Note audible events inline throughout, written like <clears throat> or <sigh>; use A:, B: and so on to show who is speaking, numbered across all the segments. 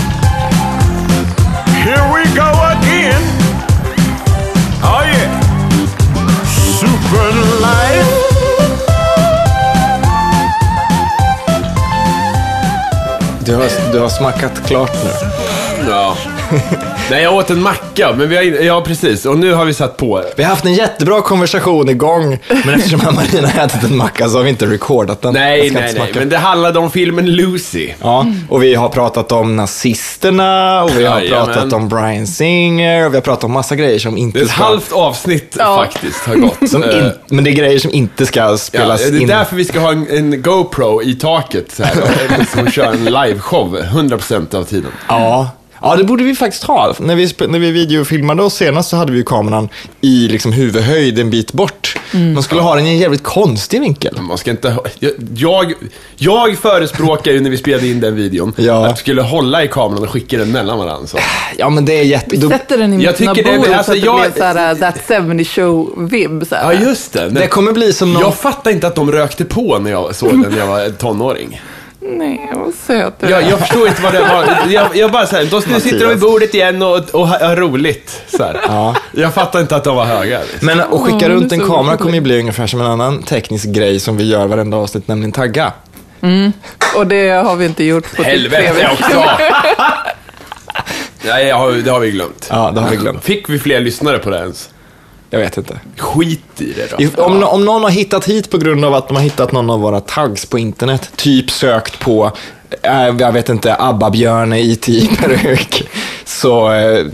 A: Oh,
B: Du har, du har smackat klart nu.
A: Ja. Nej, jag åt en macka, men vi har in... Ja, precis. Och nu har vi satt på.
B: Vi har haft en jättebra konversation igång, men eftersom Marina har ätit en macka så har vi inte recordat den.
A: Nej,
B: Jag ska
A: nej,
B: inte
A: nej.
B: smaka.
A: Men det handlade om filmen Lucy.
B: Ja, och vi har pratat om nazisterna och vi har
A: Jajamän.
B: pratat om Brian Singer och vi har pratat om massa grejer som inte
A: Det är ett
B: ska...
A: halvt avsnitt
C: Ja.
A: faktiskt har
B: <laughs>
A: gått.
B: Som
A: Eh,
B: in, men det är grejer som inte ska
A: Ja,
B: spelas
A: det är
B: in.
A: därför vi ska ha en, en GoPro i taket
B: <laughs>
A: så här, och liksom köra en liveshow 100% av tiden.
B: Ja. ja, det borde vi faktiskt ha. När vi, sp- när vi videofilmade oss senast så hade vi ju kameran i liksom huvudhöjd en bit bort.
C: Mm.
B: Man skulle ha den i en jävligt konstig vinkel.
A: Man ska inte, jag, jag, jag förespråkar ju när vi spelade in den videon
B: Ja.
A: att vi skulle hålla i kameran och skicka den mellan varandra. Så.
B: Ja, men det är jätte...
C: Vi
B: då-
C: sätter den i
A: Jag
C: mitten av
A: tycker det-
C: bordet
A: alltså,
C: så att
A: jag-
C: det blir såhär uh, that 70 show-vibb.
A: Ja, just det.
B: Det kommer bli som någon...
A: Jag fattar inte att de rökte på när jag såg den när jag var tonåring.
C: Nej, vad söt du är.
A: Jag, jag förstår inte vad det var. Jag, jag bara såhär, då- nu sitter de vid bordet igen och, och har har roligt. Så här.
B: Ja.
A: Jag fattar inte att de var höga. liksom.
B: Men att skicka
C: Ja,
B: runt
C: det är
B: en
C: så
B: kamera
C: roligt.
B: kommer ju bli ungefär som en annan teknisk grej som vi gör varenda avsnitt, nämligen tagga.
C: Och det har vi inte gjort på typ tre
A: Helvete
C: veckor. <laughs>
A: också! <laughs> Nej, jag har, det har vi glömt.
B: Ja, det har vi glömt.
A: Fick vi fler lyssnare på det ens?
B: Jag vet inte.
A: Skit i det då.
B: I- Om, no- om någon har hittat hit på grund av att de har hittat någon av våra tags på internet, typ sökt på, eh, jag vet inte, ABBA-Björne i Tiberg, <laughs> så eh,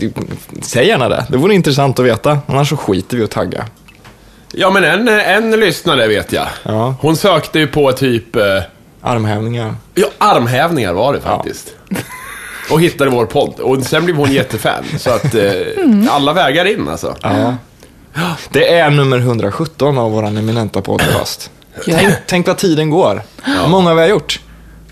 B: säg gärna det. Det vore intressant att veta, annars så skiter vi i att tagga.
A: Ja, men en, en lyssnare vet jag.
B: Ja.
A: Hon sökte ju på typ... eh,
B: Armhävningar.
A: Ja, armhävningar var det faktiskt. Och hittade vår podd. Och sen blev hon jättefan. Så att eh, alla vägar in alltså.
B: Mm. Ja. Det är nummer 117 av vår eminenta podcast. Tänk, <laughs> tänk vad tiden går. Hur många vi har gjort.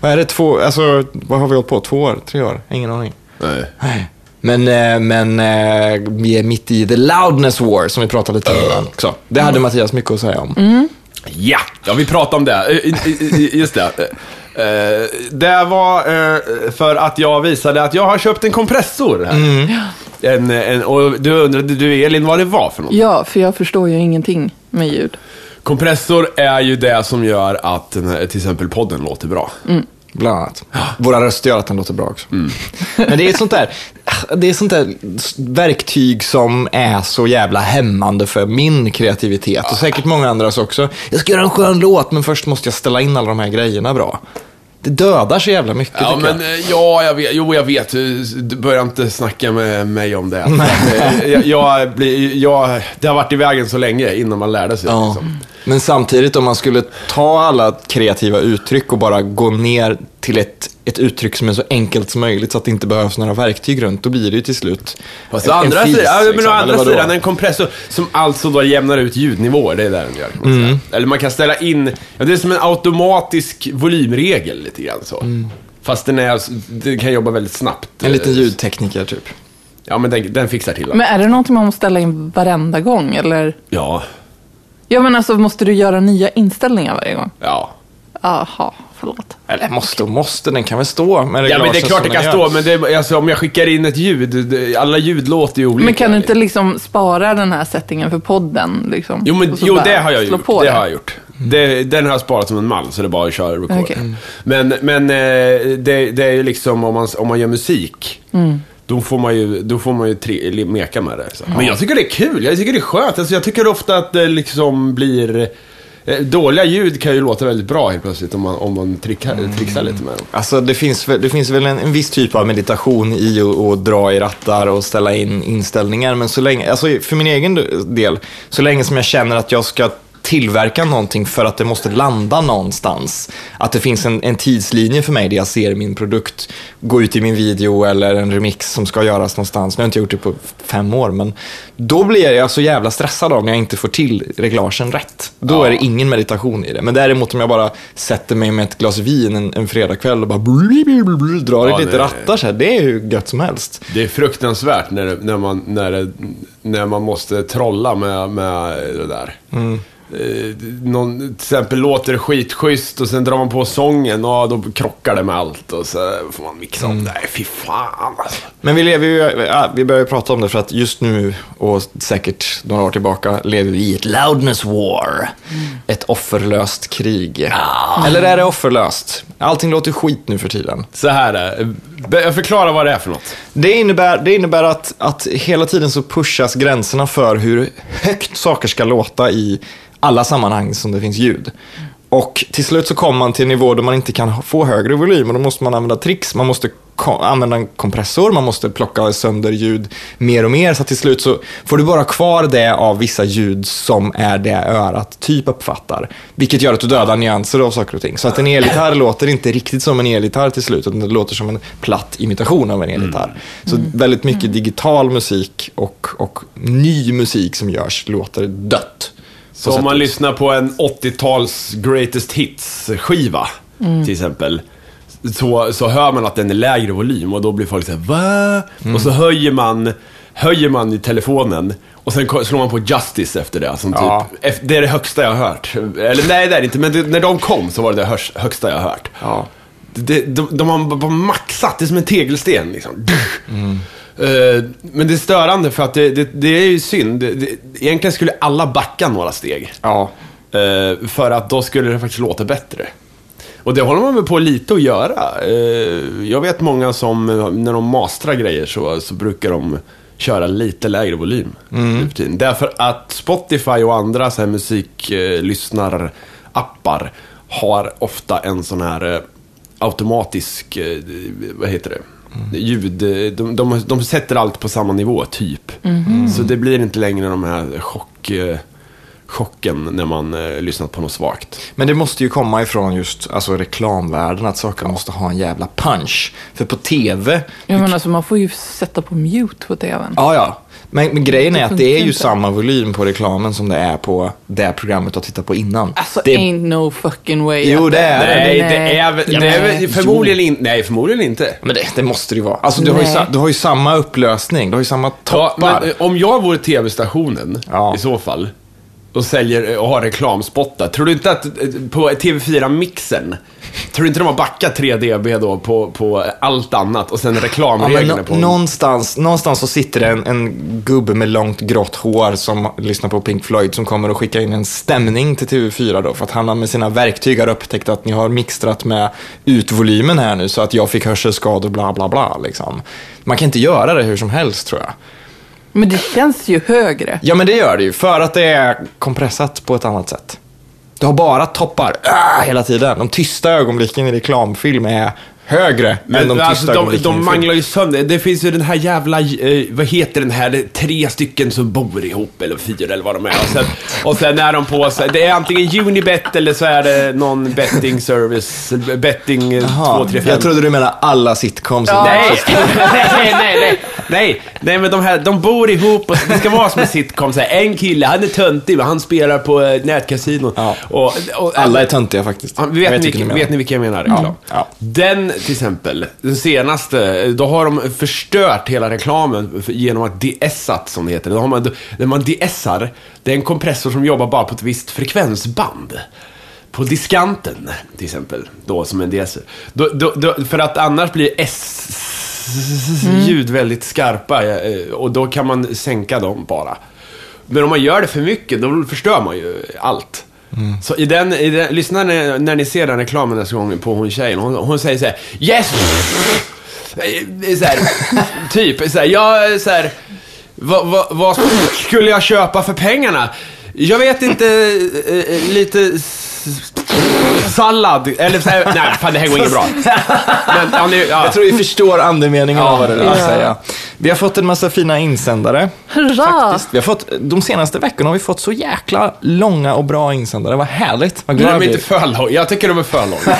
B: Vad är det? Två, alltså, vad har vi hållit på? Två år? Tre år? Ingen aning.
A: Nej.
B: Nej. Men, eh, men eh, vi är mitt i the loudness war som vi pratade lite om innan också. Det hade Mattias mycket att säga om.
A: Ja, ja vi pratade om det. Eh, i- i- i- Just det. Eh, eh, Det var eh, för att jag visade att jag har köpt en kompressor här. En, en, och du undrade du Elin vad det var för något?
C: Ja, för jag förstår ju ingenting med ljud.
A: Kompressor är ju det som gör att den här, till exempel podden låter bra.
B: Mm, Bland annat. Våra röster gör att den låter bra också. <laughs> Men det är ett sånt där, det är ett sånt där verktyg som är så jävla hämmande för min kreativitet och säkert många andras också. Jag ska göra en skön låt men först måste jag ställa in alla de här grejerna bra. Det dödar så jävla mycket
A: Ja,
B: tycker
A: men
B: jag.
A: eh, ja, jag vet. Jo, jag vet. Du du börjar inte snacka med mig om det. Eh, jag, jag, blir- jag, det har varit i vägen så länge innan man lärde sig.
B: Ja.
A: Liksom.
B: Men samtidigt om man skulle ta alla kreativa uttryck och bara gå ner till ett, ett uttryck som är så enkelt som möjligt så att det inte behövs några verktyg runt, då blir det ju till slut
A: Fast
B: en-
A: å
B: en
A: andra,
B: fis,
A: sidan, ja, men å
B: liksom, eller
A: andra
B: vadå?
A: sidan, en kompressor som alltså då jämnar ut ljudnivåer, det är där den gör. kan man
B: Mm.
A: säga. Eller man kan ställa in, ja, det är som en automatisk volymregel lite grann så. Fast den, är, den kan jobba väldigt snabbt.
B: Mm. En liten
A: Eh,
B: ljudtekniker typ.
A: Ja, men den, den fixar till va?
C: Men är det någonting man måste ställa in varenda gång, eller?
A: Ja,
C: Ja, men alltså måste du göra nya inställningar varje gång?
A: ja.
C: Aha, förlåt.
B: Eller måste och måste, den kan väl stå med
A: Ja, men det är
B: reglagen
A: klart det
B: som
A: kan
B: den
A: stå,
B: gör.
A: men det, alltså, om jag skickar in ett ljud, det, alla ljud låter ju olika.
C: Men kan du inte liksom spara den här settingen för podden? Liksom,
A: Jo, men,
C: Och så
A: jo
C: bara
A: det har jag
C: slå
A: gjort.
C: På
A: Det
C: det
A: har jag gjort. Det, den har jag sparat som en mall, så det är bara att köra record.
C: Okej. Mm.
A: Men, men eh, det, det är ju liksom om man, om man gör musik,
C: Mm.
A: då får man ju, då får man ju tre, meka med det. Så. Men jag tycker det är kul, jag tycker det är skönt. Alltså, jag tycker ofta att det liksom blir... eh, Dåliga ljud kan ju låta väldigt bra helt plötsligt om man, om man trickar,
C: Mm.
A: trixar lite med dem.
B: Alltså det finns, väl- det finns väl en, en viss typ av meditation i att att dra i rattar och ställa in inställningar. Men så länge, alltså för min egen del, så länge som jag känner att jag ska tillverka någonting för att det måste landa någonstans. Att det finns en, en tidslinje för mig där jag ser min produkt gå ut i min video eller en remix som ska göras någonstans. Nu har jag inte gjort det på fem år, men då blir jag så jävla stressad om jag inte får till reglagen rätt. Då är det ingen meditation i det. Men däremot om jag bara sätter mig med ett glas vin en, en fredagkväll och bara blu, blu, blu, blu, drar
A: Ja,
B: i lite
A: det-
B: rattar så här, det är ju gött som helst.
A: Det är fruktansvärt när, det, när, man, när, det, när man måste trolla med, med det där. eh, någon, till exempel låter det skitschysst och sen drar man på sången och då krockar det med allt och så får man mixa om det. Nej, fy fan alltså.
B: Men vi lever ju, ja, vi börjar ju prata om det för att just nu och säkert några år tillbaka lever vi i ett loudness war. Ett offerlöst krig. Eller är det offerlöst? Allting låter skit nu för tiden.
A: Så här är det. Jag förklarar vad det är för något.
B: Det innebär, det innebär att, att hela tiden så pushas gränserna för hur högt saker ska låta i alla sammanhang som det finns ljud. Och till slut så kommer man till en nivå där man inte kan ha- få högre volym och då måste man använda tricks. Man måste ko- använda en kompressor, man måste plocka sönder ljud mer och mer. Så att till slut så får du bara kvar det av vissa ljud som är det örat typ uppfattar. Vilket gör att du dödar nyanser av saker och ting. Så att en elgitarr låter inte riktigt som en elgitarr till slut, utan det låter som en platt imitation av en elgitarr. Så väldigt mycket digital musik och, och ny musik som görs låter dött.
A: Så om man lyssnar på en 80-tals greatest hits-skiva, till exempel, så, så hör man att den är lägre volym och då blir folk såhär va?
B: Mm.
A: Och så höjer man, höjer man i telefonen och sen ko- slår man på Justice efter det. Som
B: Ja.
A: typ, eff- det är det högsta jag har hört. Eller nej, det är det inte, men det, när de kom så var det det hörs- högsta jag har hört.
B: Ja.
A: Det, de, de har bara maxat, det är som en tegelsten liksom. Eh, Men det är störande för att det, det, det är ju synd. Det, det, egentligen skulle alla backa några steg.
B: Ja.
A: Eh, för att då skulle det faktiskt låta bättre. Och det håller man väl på lite att göra. Eh, jag vet många som, eh, när de mastrar grejer så, så brukar de köra lite lägre volym. nu för tiden. Därför att Spotify och andra så här musiklyssnarappar har ofta en sån här eh, automatisk, eh, vad heter det? Ljud, eh, de, de, de sätter allt på samma nivå, typ. Så det blir inte längre de här chock... eh, chocken när man eh, lyssnat på något svagt.
B: Men det måste ju komma ifrån just alltså, reklamvärlden, att saker måste ha en jävla punch. För på tv,
C: Jag menar, alltså, man får ju sätta på mute på tvn.
B: ja ja, men, men grejen
C: Det
B: är att det
C: funkar
B: är ju
C: inte.
B: samma volym på reklamen som det är på det programmet du har tittat på innan.
C: Alltså,
B: det,
C: ain't no fucking way.
B: Jo,
C: att-
B: det är det.
A: Nej,
C: Nej.
A: det är väl...
B: Ja,
A: det är
B: men-
A: väl- Förmodligen inte. Nej, förmodligen inte.
B: men det, det måste det ju vara. Alltså, du, har ju,
C: Nej.
B: sa- du har ju samma upplösning, du har ju samma
A: Ja,
B: toppar.
A: men, eh, om jag vore tv-stationen,
B: Ja.
A: i så fall, och säljer eh, och har reklamspottar, tror du inte att eh, på TV4-mixen, tror du inte de har backat 3 dB då på, på allt annat och sen
B: Ja, men
A: reklamreglerna
B: nå-
A: på...
B: någonstans, någonstans så sitter det en, en gubbe med långt grått hår som lyssnar på Pink Floyd som kommer och skickar in en stämning till TV4 då för att han har med sina verktyg har upptäckt att ni har mixtrat med utvolymen här nu så att jag fick hörselskador bla bla bla liksom. Man kan inte göra det hur som helst tror jag.
C: Men det känns ju högre.
B: Ja men det gör det ju för att det är kompressat på ett annat sätt. Du har bara toppar ah, hela tiden. De tysta ögonblicken i reklamfilm är högre än
A: Men
B: de tysta
A: alltså, de,
B: ögonblicken i
A: de
B: film.
A: manglar ju sönder. Det finns ju den här jävla, eh, vad heter den här, det är tre stycken som bor ihop, eller fyra eller vad de är. Och sen, och sen är de på sig, det är antingen Unibet eller så är det någon betting service, betting eh,
B: Jaha,
A: 235.
B: jag trodde du menade alla sitcoms.
C: Ja. <laughs>
A: Nej. nej, nej, nej, nej. Nej, men de här, de bor ihop och det ska vara som en sitcom. Så här, en kille, han är töntig, men han spelar på eh, nätkasino.
B: Ja.
A: Och, och,
B: Alla är töntiga faktiskt.
A: Ja, vet, ni,
B: vilken du
A: vilka,
B: menar.
A: vet ni vilka jag menar? Reklam.
B: Ja.
A: Den till exempel, den senaste, då har de förstört hela reklamen för- genom att deessat som det heter. Då har man, när man deessar, det är en kompressor som jobbar bara på ett visst frekvensband. På diskanten till exempel, då som en DS. Då, då, då, för att annars blir
B: Mm.
A: S-ljud väldigt skarpa eh, och då kan man sänka dem bara. Men om man gör det för mycket, då förstör man ju allt. Så i den, i den, lyssna när, när ni ser den reklamen nästa gång på hon tjejen. Hon, hon säger så här: Yes! Eh, Så här, typ, så här, jag, så här, vad, vad, vad skulle jag köpa för pengarna? Jag vet inte, eh, eh, lite s- sallad, eller så här, nej fan det här går inget bra. Men, ja, ni, ja.
B: Jag tror vi förstår andemeningen av vad det vill
C: Ja.
B: säga. Vi har fått en massa fina insändare.
C: Hurra!
B: Vi har fått, de senaste veckorna har vi fått så jäkla långa och bra insändare. Vad härligt. Vad glad
A: Men
B: jag
A: de är
B: blir.
A: inte för långa, jag tycker de är för långa.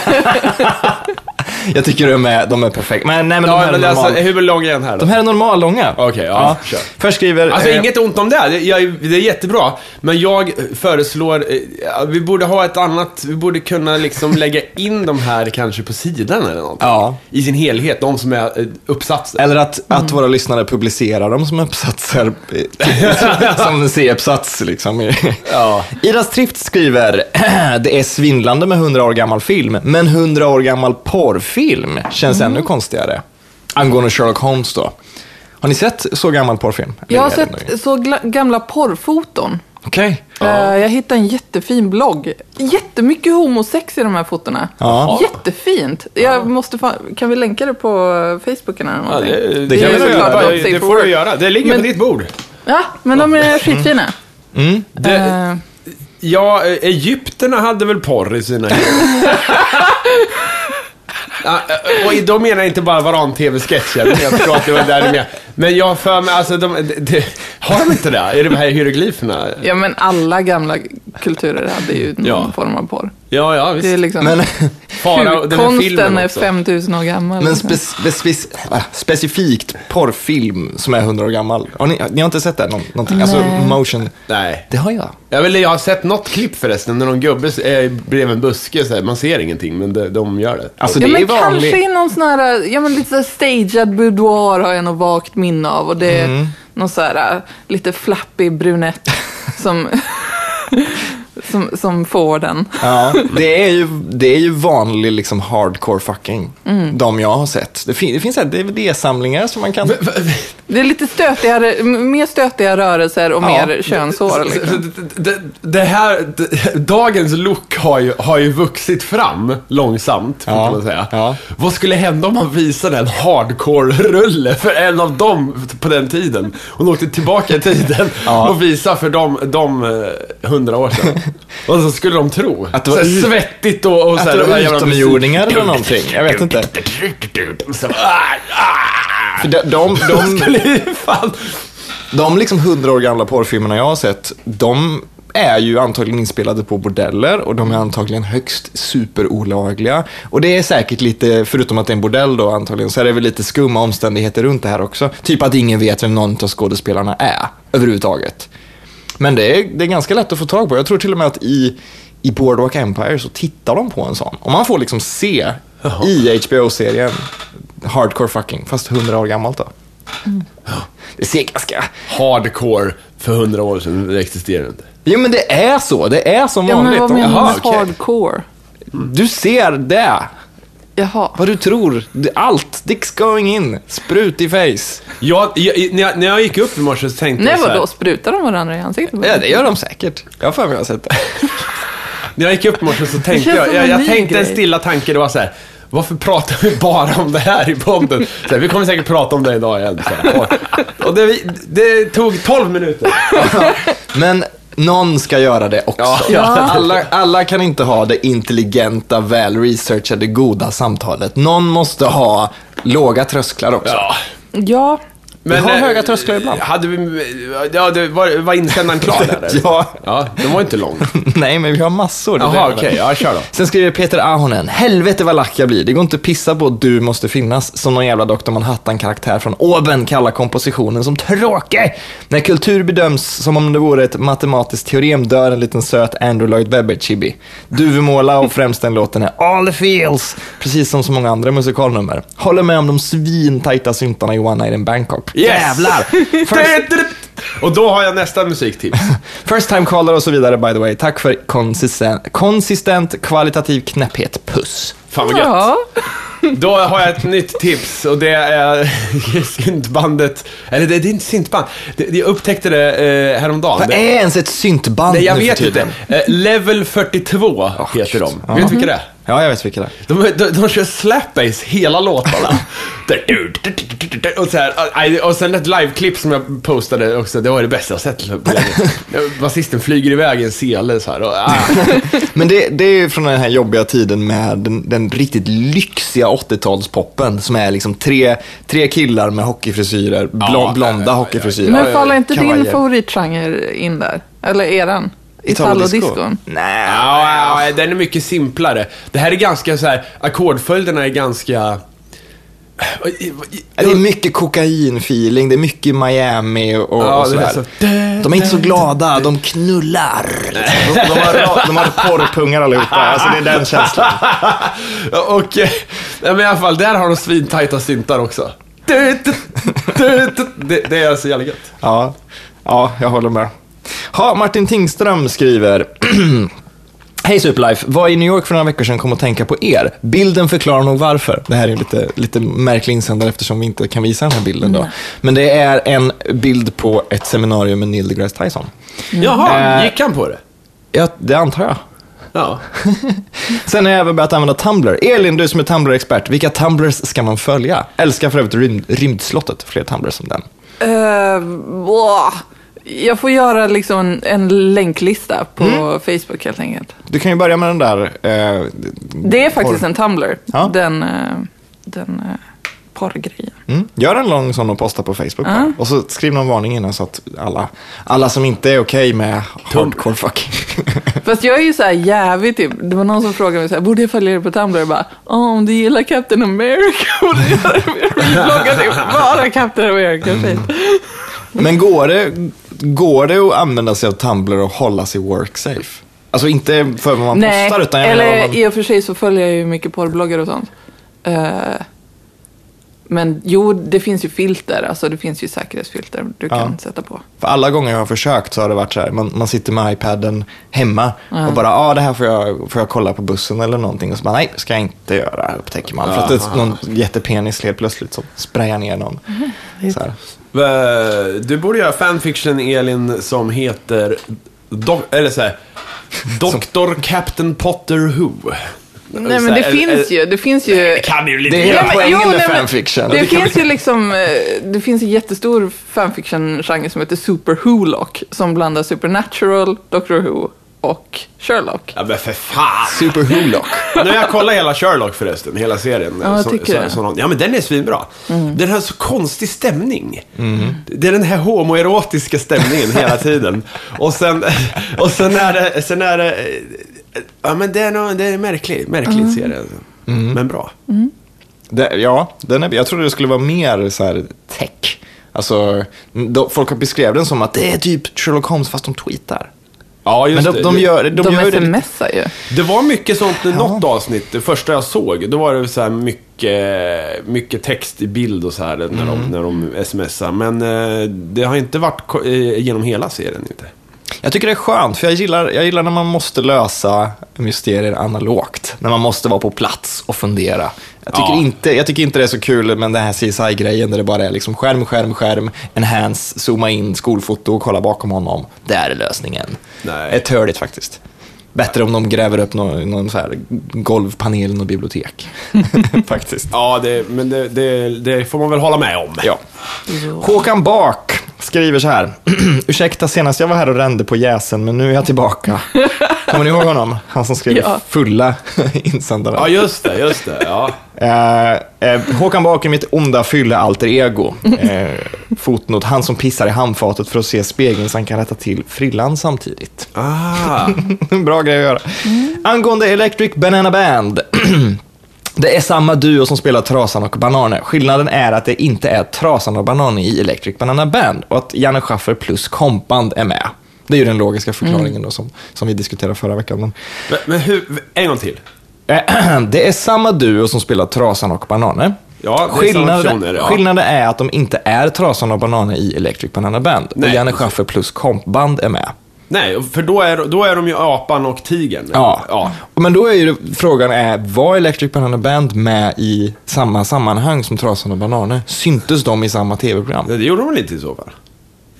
B: jag tycker de är, de är perfekta. Men, nej, men de
A: Ja,
B: här är
A: men
B: normal,
A: alltså, hur lång är den här då?
B: de här är normallånga.
A: Okej, ja, kör.
B: Först skriver...
A: Alltså
B: eh,
A: inget ont om det, det, jag, det är jättebra. Men jag föreslår, eh, vi borde ha ett annat, vi borde kunna liksom <laughs> lägga in de här kanske på sidan eller någonting.
B: Ja.
A: I sin helhet, de som är eh, uppsatser.
B: Eller att, att våra lyssnare publicerar dem som
A: <laughs>
B: uppsatser, eh, som en C-uppsats liksom.
A: Ja.
B: Ida Strift skriver, <clears throat> det är svindlande med 100 år gammal film, men 100 år gammal porrfilm känns
C: Mm.
B: ännu konstigare. Angående Sherlock Holmes då. Har ni sett så gammal porrfilm? Eller
C: Jag har
B: är det nu?
C: sett så gla- gamla porrfoton.
B: Okej.
C: Eh, Jag hittade en jättefin blogg. Jättemycket homosex i de här fotona.
B: Ja.
C: Jättefint. Jag måste fan, kan vi länka det på Facebook eller
A: Ja,
C: någonting?
A: det,
B: kan
C: är
B: vi
C: såklart
B: göra.
C: not
A: det,
C: safe
A: det
C: for
A: får du
C: work.
A: göra. Det ligger på
C: Men-
A: ditt bord.
C: Ja, men de är skitfina.
A: Det,
C: Eh,
A: Ja, eh, Egypterna hade väl porr i sina <laughs> Ja, eh, Och då menar jag inte bara varan-tv-sketcher, men jag förstår att det var där du menar. Men jag har för mig, alltså, de, de, de, har de inte det? Är det de här hieroglyferna?
C: Ja, men alla gamla kulturer hade ju någon
A: Ja.
C: form av porr.
A: Ja, ja,
C: Det är
A: visst.
C: liksom...
B: Men,
A: Farao, den här
C: Konsten
A: filmen
C: är
A: också.
C: 5000 år gammal. liksom.
B: men spe, spe, spe, äh, specifikt porrfilm som är 100 år gammal. Har ni, ni har inte sett det? Någon, någonting? Alltså
C: Nej.
B: motion.
A: Nej.
B: Det har jag.
A: Jag, vill, jag har sett något klipp förresten, när någon gubbe är bredvid en buske, så här, man ser ingenting, men de, de gör det.
B: Alltså
C: ja,
B: det är
C: men
B: vanligt.
C: kanske i någon sån här, ja men lite så här stagead boudoir har jag nog vagt minne av. Och det är
B: Mm.
C: någon så här äh, lite flappig brunett
B: <laughs>
C: som, som, som får den.
B: Ja, det är ju, det är ju vanlig liksom hardcore fucking. De jag har sett. Det, fin- det finns så här DVD-samlingar som man kan...
C: Det är lite stötigare, m- mer stötiga rörelser och
B: Ja.
C: mer könshår. Liksom.
A: Det, det, det här, det, dagens look har ju, har ju vuxit fram långsamt,
B: Ja,
A: kan man säga.
B: ja.
A: Vad skulle hända om man visade en hardcore-rulle för en av dem på den tiden? Hon åkte tillbaka i tiden
B: <laughs> Ja.
A: och visade för dem, dem eh, hundra år sedan. Vad så skulle de tro?
B: Att det var
A: Så här
B: ut-
A: svettigt och, och så
B: Att
A: här,
B: det
A: de här
B: var
A: jävla musik-
B: utomjordingar eller någonting. Jag vet inte.
A: Så, ah, ah.
B: För de, de,
A: De
B: de,
A: skulle ju fan...
B: de liksom hundra år gamla porrfilmerna jag har sett, de är ju antagligen inspelade på bordeller och de är antagligen högst superolagliga. Och det är säkert lite, förutom att det är en bordell då antagligen, så är det väl lite skumma omständigheter runt det här också. Typ att ingen vet vem någon av skådespelarna är överhuvudtaget. Men det är, det är ganska lätt att få tag på. Jag tror till och med att i, i Boardwalk Empire så tittar de på en sån. Och man får liksom se i HBO-serien Hardcore fucking, fast 100 år gammalt då. Det ser ganska...
A: Hardcore för hundra år sedan, det existerar inte.
B: Jo men det är så, det är som
C: Ja, men
B: vanligt.
C: vad menar du
B: Jaha,
C: med
B: okej.
C: hardcore?
B: Du ser det,
C: Jaha.
B: vad du tror. Det- Allt, dicks going in, sprut i face.
A: Jag, jag, när, jag, när jag gick upp i morse så tänkte
C: Nej
A: jag så här,
C: vadå, sprutar de varandra i ansiktet?
B: Ja, det gör de säkert. Jag har för mig att jag har sett det. <laughs>
A: När jag gick upp i morse så tänkte
C: känns
A: jag,
C: som
A: jag,
C: en
A: jag
C: ny
A: tänkte en
C: grej.
A: stilla tanke, det var så här. Varför pratar vi bara om det här i podden? Så här, vi kommer säkert prata om det idag igen. Så här. Och, och det, vi- det tog 12 minuter.
B: Men någon ska göra det också.
A: Ja, ja.
B: <laughs> Alla, alla kan inte ha det intelligenta, välresearchade, goda samtalet. Någon måste ha låga trösklar också.
A: Ja.
C: Ja,
B: Vi har
A: eh,
B: höga trösklar ibland.
A: Hade vi, ja, det var, var insändaren klar där? eller?
B: <laughs> Ja.
A: ja. Den var inte lång.
B: <laughs> Nej, men vi har massor. det är det jag
A: Jaha,
B: menar.
A: okej. Ja, kör då.
B: Sen skriver Peter Ahonen, helvete vad lack jag blir. Det går inte att pissa på att du måste finnas som någon jävla Dr. Manhattan-karaktär från oben kallar kompositionen som tråkig. När kultur bedöms som om det vore ett matematiskt teorem dör en liten söt Andrew Lloyd Webber-chibi. Duvemåla och främst den låten är All the feels, precis som så många andra musikalnummer. Håller med om de svintajta syntarna i One Night in Bangkok.
A: <laughs>
B: Jävlar! First,
A: Och då har jag nästa musiktips.
B: first time caller och så vidare by the way. Tack för konsistent, konsistent kvalitativ knäpphet. Puss.
A: Fan vad gött.
C: ja.
A: Då har jag ett nytt tips och det är <laughs> syntbandet, eller det, det är inte syntband, det, det- jag upptäckte det eh, häromdagen.
B: Vad
A: Det-
B: är ens ett syntband
A: Nej, jag
B: nu för
A: vet inte.
B: tiden?
A: Eh, Level 42 heter de.
B: Ja.
A: Vet du vilka det är?
B: Ja, jag vet vilka det
A: <laughs>
B: är.
A: De, de, de kör slapbass
B: <laughs>
A: hela låtarna. Där, du, du, du, du, du, du, och, så här, aj, och sen ett liveklipp som jag postade också, det var det bästa jag sett på länge. Basisten flyger iväg i en sele så här.
B: <laughs>
A: Och, ah.
B: Men det, det är ju från den här jobbiga tiden med den, den riktigt lyxiga 80-talspoppen som är liksom tre, tre killar med hockeyfrisyrer, blå,
A: Ja, ja,
B: blonda
A: ja, ja.
B: hockeyfrisyrer.
C: Men faller inte din
B: Kavajer.
C: favoritgenre in där? Eller eran? Italo-discon.
B: Nej.
A: Ja, ja, den är mycket simplare. Det här är ganska så här, ackordföljderna är ganska... eh,
B: Det är mycket kokain-feeling, det är mycket Miami och,
A: Ja,
B: och
A: det är
B: sådär.
A: så-
B: De är inte så glada, de knullar. De, de, har, de har porrpungar allihopa, alltså det är den känslan.
A: <laughs> Och, eh, nej, men i alla fall, där har de svintajta syntar också. Du, du, du, du. Det, det är så jävla gött.
B: Ja, ja jag håller med. Ha, Martin Tingström skriver. <clears throat> Hej Superlife, var i New York för några veckor sedan kom att tänka på er. Bilden förklarar nog varför. Det här är lite, lite märklig insändare eftersom vi inte kan visa den här bilden då. Men det är en bild på ett seminarium med Neil deGrasse Tyson.
C: Mm. Eh.
A: Jaha, gick han på det?
B: Ja, det antar jag.
A: Ja.
B: Sen har jag även börjat använda Tumblr. Elin, du som är Tumblr-expert, vilka Tumblrs ska man följa? Älskar för övrigt rymd, Rymdslottet, fler Tumblrs som den.
C: Eh, wow. jag får göra liksom en, en länklista på
A: Mm.
C: Facebook helt enkelt.
B: Du kan ju börja med den där... Eh,
C: Det är faktiskt en Tumblr,
B: Ja.
C: den, eh, den eh, porrgrejen.
B: mm, gör en lång sån och posta på Facebook. bara. Och så skriv någon varning innan så att alla, alla som inte är okej med hardcore fucking...
C: Fast jag är ju så här jävig typ. Det var någon som frågade mig så här, borde jag följa dig på Tumblr? Jag bara, "Ja, om du gillar Captain America <laughs> borde du göra det. Jag bloggar typ bara Captain America.
A: Mm.
C: typ. shit.
B: <laughs> Men går det, går det att använda sig av Tumblr och hålla sig worksafe? Alltså inte för vad man
C: Nej,
B: postar, utan jag menar
C: eller
B: vad man...
C: i och för sig så följer jag ju mycket porrbloggar och sånt. Eh, men jo, det finns ju filter, alltså det finns ju säkerhetsfilter du kan sätta på.
B: För alla gånger jag har försökt så har det varit så här, man, man sitter med iPaden hemma och bara, ja ah, det här får jag, får jag kolla på bussen eller någonting. Och så bara, nej, ska jag inte göra, upptäcker man. För att det är någon jättepenis helt plötsligt som sprayar ner
C: <laughs>
B: någon. Så här.
A: Va- Du borde göra fanfiction, Elin, som heter... Do- eller så här, Dr. Captain Potter Who.
C: Nej men det finns ju, det finns ju...
A: Kan ju lite
B: Det är hela
C: Nej, men-
B: poängen
C: jo,
B: med
C: nej, men-
B: fanfiction.
C: Det
B: Det kan-
C: finns ju liksom, eh, det finns en jättestor fanfiction-genre som heter Super Hulock som blandar Supernatural, Doctor Who och Sherlock.
A: Ja, men för fan.
B: Super Hulock.
A: Nu har jag kollat hela Sherlock förresten, hela serien.
C: Ja, jag tycker det. Mm.
A: ja men den är svinbra. Den har så konstig stämning.
B: Mm.
A: Det är den här homoerotiska stämningen hela tiden. Och sen, och sen är det, sen är det, ja men det är, nog, det är en märklig, märklig
C: Mm.
A: serie. alltså.
B: Mm.
A: Men bra.
B: Det, ja, den är, jag trodde det skulle vara mer så här tech. Alltså, då, folk har beskrivit den som att det är typ Sherlock Holmes fast de tweetar.
A: Ja,
B: Men
A: just
B: de,
A: det.
B: de gör, de
C: De,
B: gör det lite-
C: smsar ju.
A: Det var mycket sånt i något avsnitt, det första jag såg. Då var det så här mycket, mycket text i bild och så här när, de, när de smsar. Men eh, det har inte varit ko- eh, genom hela serien. Inte.
B: Jag tycker det är skönt, för jag gillar, jag gillar när man måste lösa mysterier analogt. När man måste vara på plats och fundera. Jag tycker,
A: Ja.
B: inte, jag tycker inte det är så kul med den här CSI-grejen där det bara är liksom skärm, skärm, skärm, enhance, zooma in, skolfoto och kolla bakom honom. Där är lösningen.
A: Nej.
B: Det är törligt faktiskt. Bättre om de gräver upp någon, någon så här golvpanel i något bibliotek. <laughs> faktiskt.
A: Ja, det, men det, det, det får man väl hålla med om.
B: Ja. Håkan Bak skriver så här. <clears throat> Ursäkta, senast jag var här och rände på jäsen, men nu är jag tillbaka. Kommer ni ihåg honom? Han som skrev
C: Ja.
B: fulla <laughs> insändare.
A: Ja, just det, just det. Ja.
B: Eh, eh, Håkan Bak är mitt onda fylle alter ego. Eh, fotnot, han som pissar i handfatet för att se spegeln så han kan rätta till frillan samtidigt.
A: Ah.
B: <laughs> Bra grej att göra. Angående Electric Banana Band. <clears throat> Det är samma duo som spelar Trasan och Bananer. Skillnaden är att det inte är Trasan och Bananer i Electric Banana Band och att Janne Schaffer plus kompband är med. Det är ju den logiska förklaringen då som, som vi diskuterade förra veckan. Men,
A: <laughs>
B: <clears throat>
A: Men, men hur, en gång till.
B: det är samma duo som spelar Trasan och Bananer.
A: Ja, det är samma
B: skillnaden,
A: personer, ja.
B: skillnaden är att de inte är Trasan och Bananer i Electric Banana Band. och
A: Nej,
B: Janne
A: precis.
B: Schaffer plus kompband är med.
A: Nej, för då är, då är de ju apan och tigern.
B: Ja.
A: ja.
B: Men då är ju frågan, är, var Electric Banana Band med i samma sammanhang som Trasan och Bananer? Syntes de i samma tv-program?
A: Det gjorde de väl inte i så fall?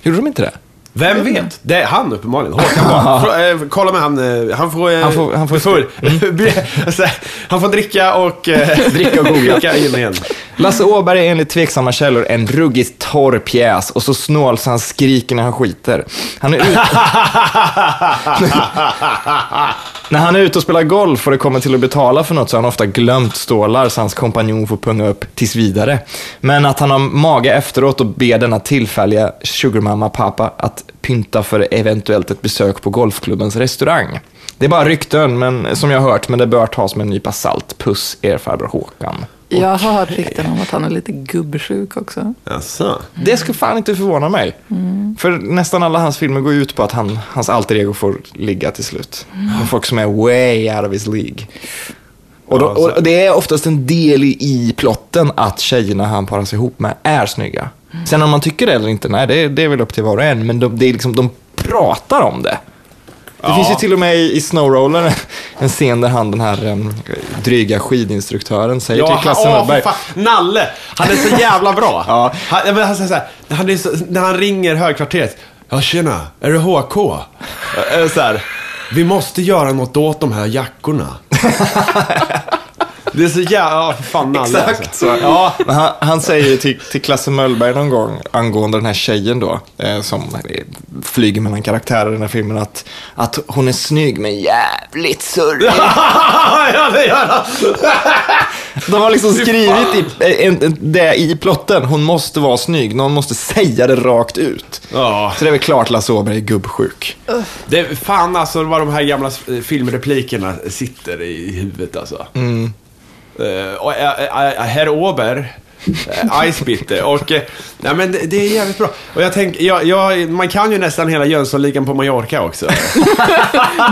B: Gjorde de inte det?
A: Vem vet? Det är han uppenbarligen. Håkan
B: <laughs>
A: Bak. Frå- eh, Kolla med han. eh, Han får... eh,
B: Han får- han får- <laughs> Mm.
A: full. <laughs> Bli- så här, han får dricka och... eh,
B: <laughs> Dricka och googla.
A: dricka in igen.
B: Lasse Åberg är enligt tveksamma källor en ruggigt torr pjäs och så snål så han skriker när han skiter. Han är, ut... När han är ute och spelar golf och det kommer till att betala för något så har han ofta glömt stålar så hans kompanjon får punga upp tills vidare. Men att han har mage efteråt och ber denna tillfälliga sugarmamma pappa att pynta för eventuellt ett besök på golfklubbens restaurang. Det är bara rykten men, som jag har hört, men det bör tas med en nypa salt. Puss er farbror Håkan.
C: Jag har hört rykten om att han är lite
B: <laughs>
C: gubbsjuk också.
A: Jaså?
B: Det skulle fan inte förvåna mig. För nästan alla hans filmer går ut på att han, hans alter ego får ligga till slut. Med folk som är way out of his League. Och, då, och det är oftast en del i, i plotten att tjejerna han paras ihop med är snygga. Sen om man tycker det eller inte, nej det, det är väl upp till var och en. Men de, det är liksom, de pratar om det. Det finns ju till och med i, i Snowroller en scen där han, den här em, dryga skidinstruktören, säger till Klasse
A: åh,
B: Hallberg.
A: för fan, Nalle! Han är så jävla bra.
B: <laughs> Ja.
A: han, ja, men han, säger så här, han är så, när han ringer högkvarteret. Ja, tjena, är det HK? Eh, Så här, vi måste göra något åt de här
B: <laughs>
A: jackorna. det är så jävla... Ja, för fan Nalle.
B: Exakt
A: alltså.
B: så.
A: Ja.
B: Men han, han säger ju till, till Klasse Möllberg någon gång angående den här tjejen då, eh, som eh, flyger mellan karaktärer i den här filmen, att, att hon är snygg men jävligt surrig.
A: ja, det gör han.
B: De har <laughs> liksom skrivit i, eh, en, en, det i plotten, hon måste vara snygg, någon måste säga det rakt ut.
A: Ja.
B: Så det är väl klart Lasse Åberg är gubbsjuk.
A: Det, fan alltså vad de här gamla eh, filmreplikerna sitter i huvudet alltså. Mm. och, eh, eh, herr Ober, eh, Icebitter och eh, nej, men det, det är jävligt bra. Och jag tänker, jag, jag, man kan ju nästan hela Jönssonligan på
B: <laughs>
A: Mallorca också.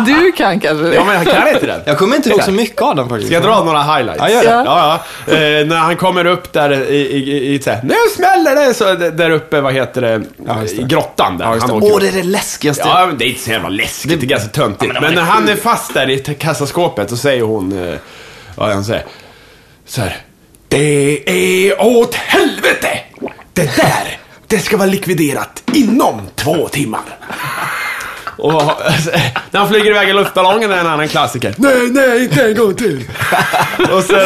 C: Du kan kanske det?
A: Ja men jag kan inte den.
B: Jag kommer inte ihåg så mycket av den faktiskt.
A: Ska jag dra några highlights?
B: Ja, gör det.
C: Ja.
A: Ja, ja. Eh, när han kommer upp där i, i, i, i så här, nu smäller det! Så, d- där uppe, vad heter det,
B: Ja, just det.
A: i grottan där.
B: Ja, just
A: han
B: det.
A: åker
B: Åh, det är det läskigaste.
A: Ja, men det är inte så jävla läskigt. Det är ganska töntigt. men när han är fast där i t- kassaskåpet så säger hon, eh, vad är han säger? Så här. Det är åt helvete! Det där, det ska vara likviderat inom två timmar. Och alltså, när han flyger iväg i luftballongen är en annan klassiker. Nej, nej, inte en gång till. Och sen...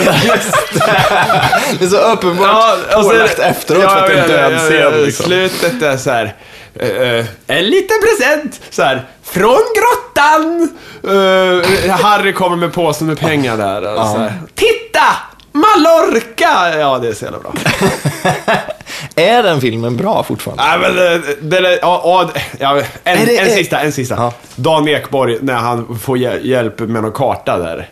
B: Det är så uppenbart
A: alltså-
B: pålagt efteråt för att det är en död scen. Liksom.
A: Slutet är så här. eh, eh, en liten present! Så här, från grottan! Eh, Harry kommer med påsen med pengar där. Och så här, Titta! Mallorca! Ja, det är så
B: <laughs>
A: jävla bra.
B: Är den filmen bra fortfarande?
A: Nej, men eh, det är... ja, ja, ja, en,
B: Är det-
A: en
B: är-
A: sista, en sista.
B: Ja.
A: Dan Ekborg, när han får hjä- hjälp med någon karta där.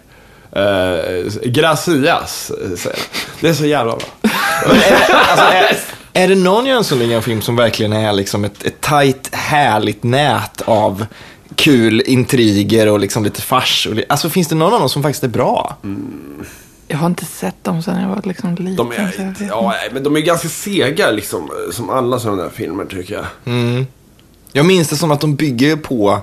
A: Uh, gracias, säger han. Det är så jävla bra. <laughs>
B: Alltså, är, är det någon Jönssonligan-film som verkligen är liksom ett, ett tajt, härligt nät av kul intriger och liksom lite fars? Och li- alltså finns det någon av dem som faktiskt är bra?
C: Jag har inte sett dem sedan jag var liksom liten.
A: De
C: så jag
A: är,
C: vet
A: ja, nej, men de är ganska sega liksom, som alla sådana där filmer tycker jag.
B: Mm. Jag minns det som att de bygger på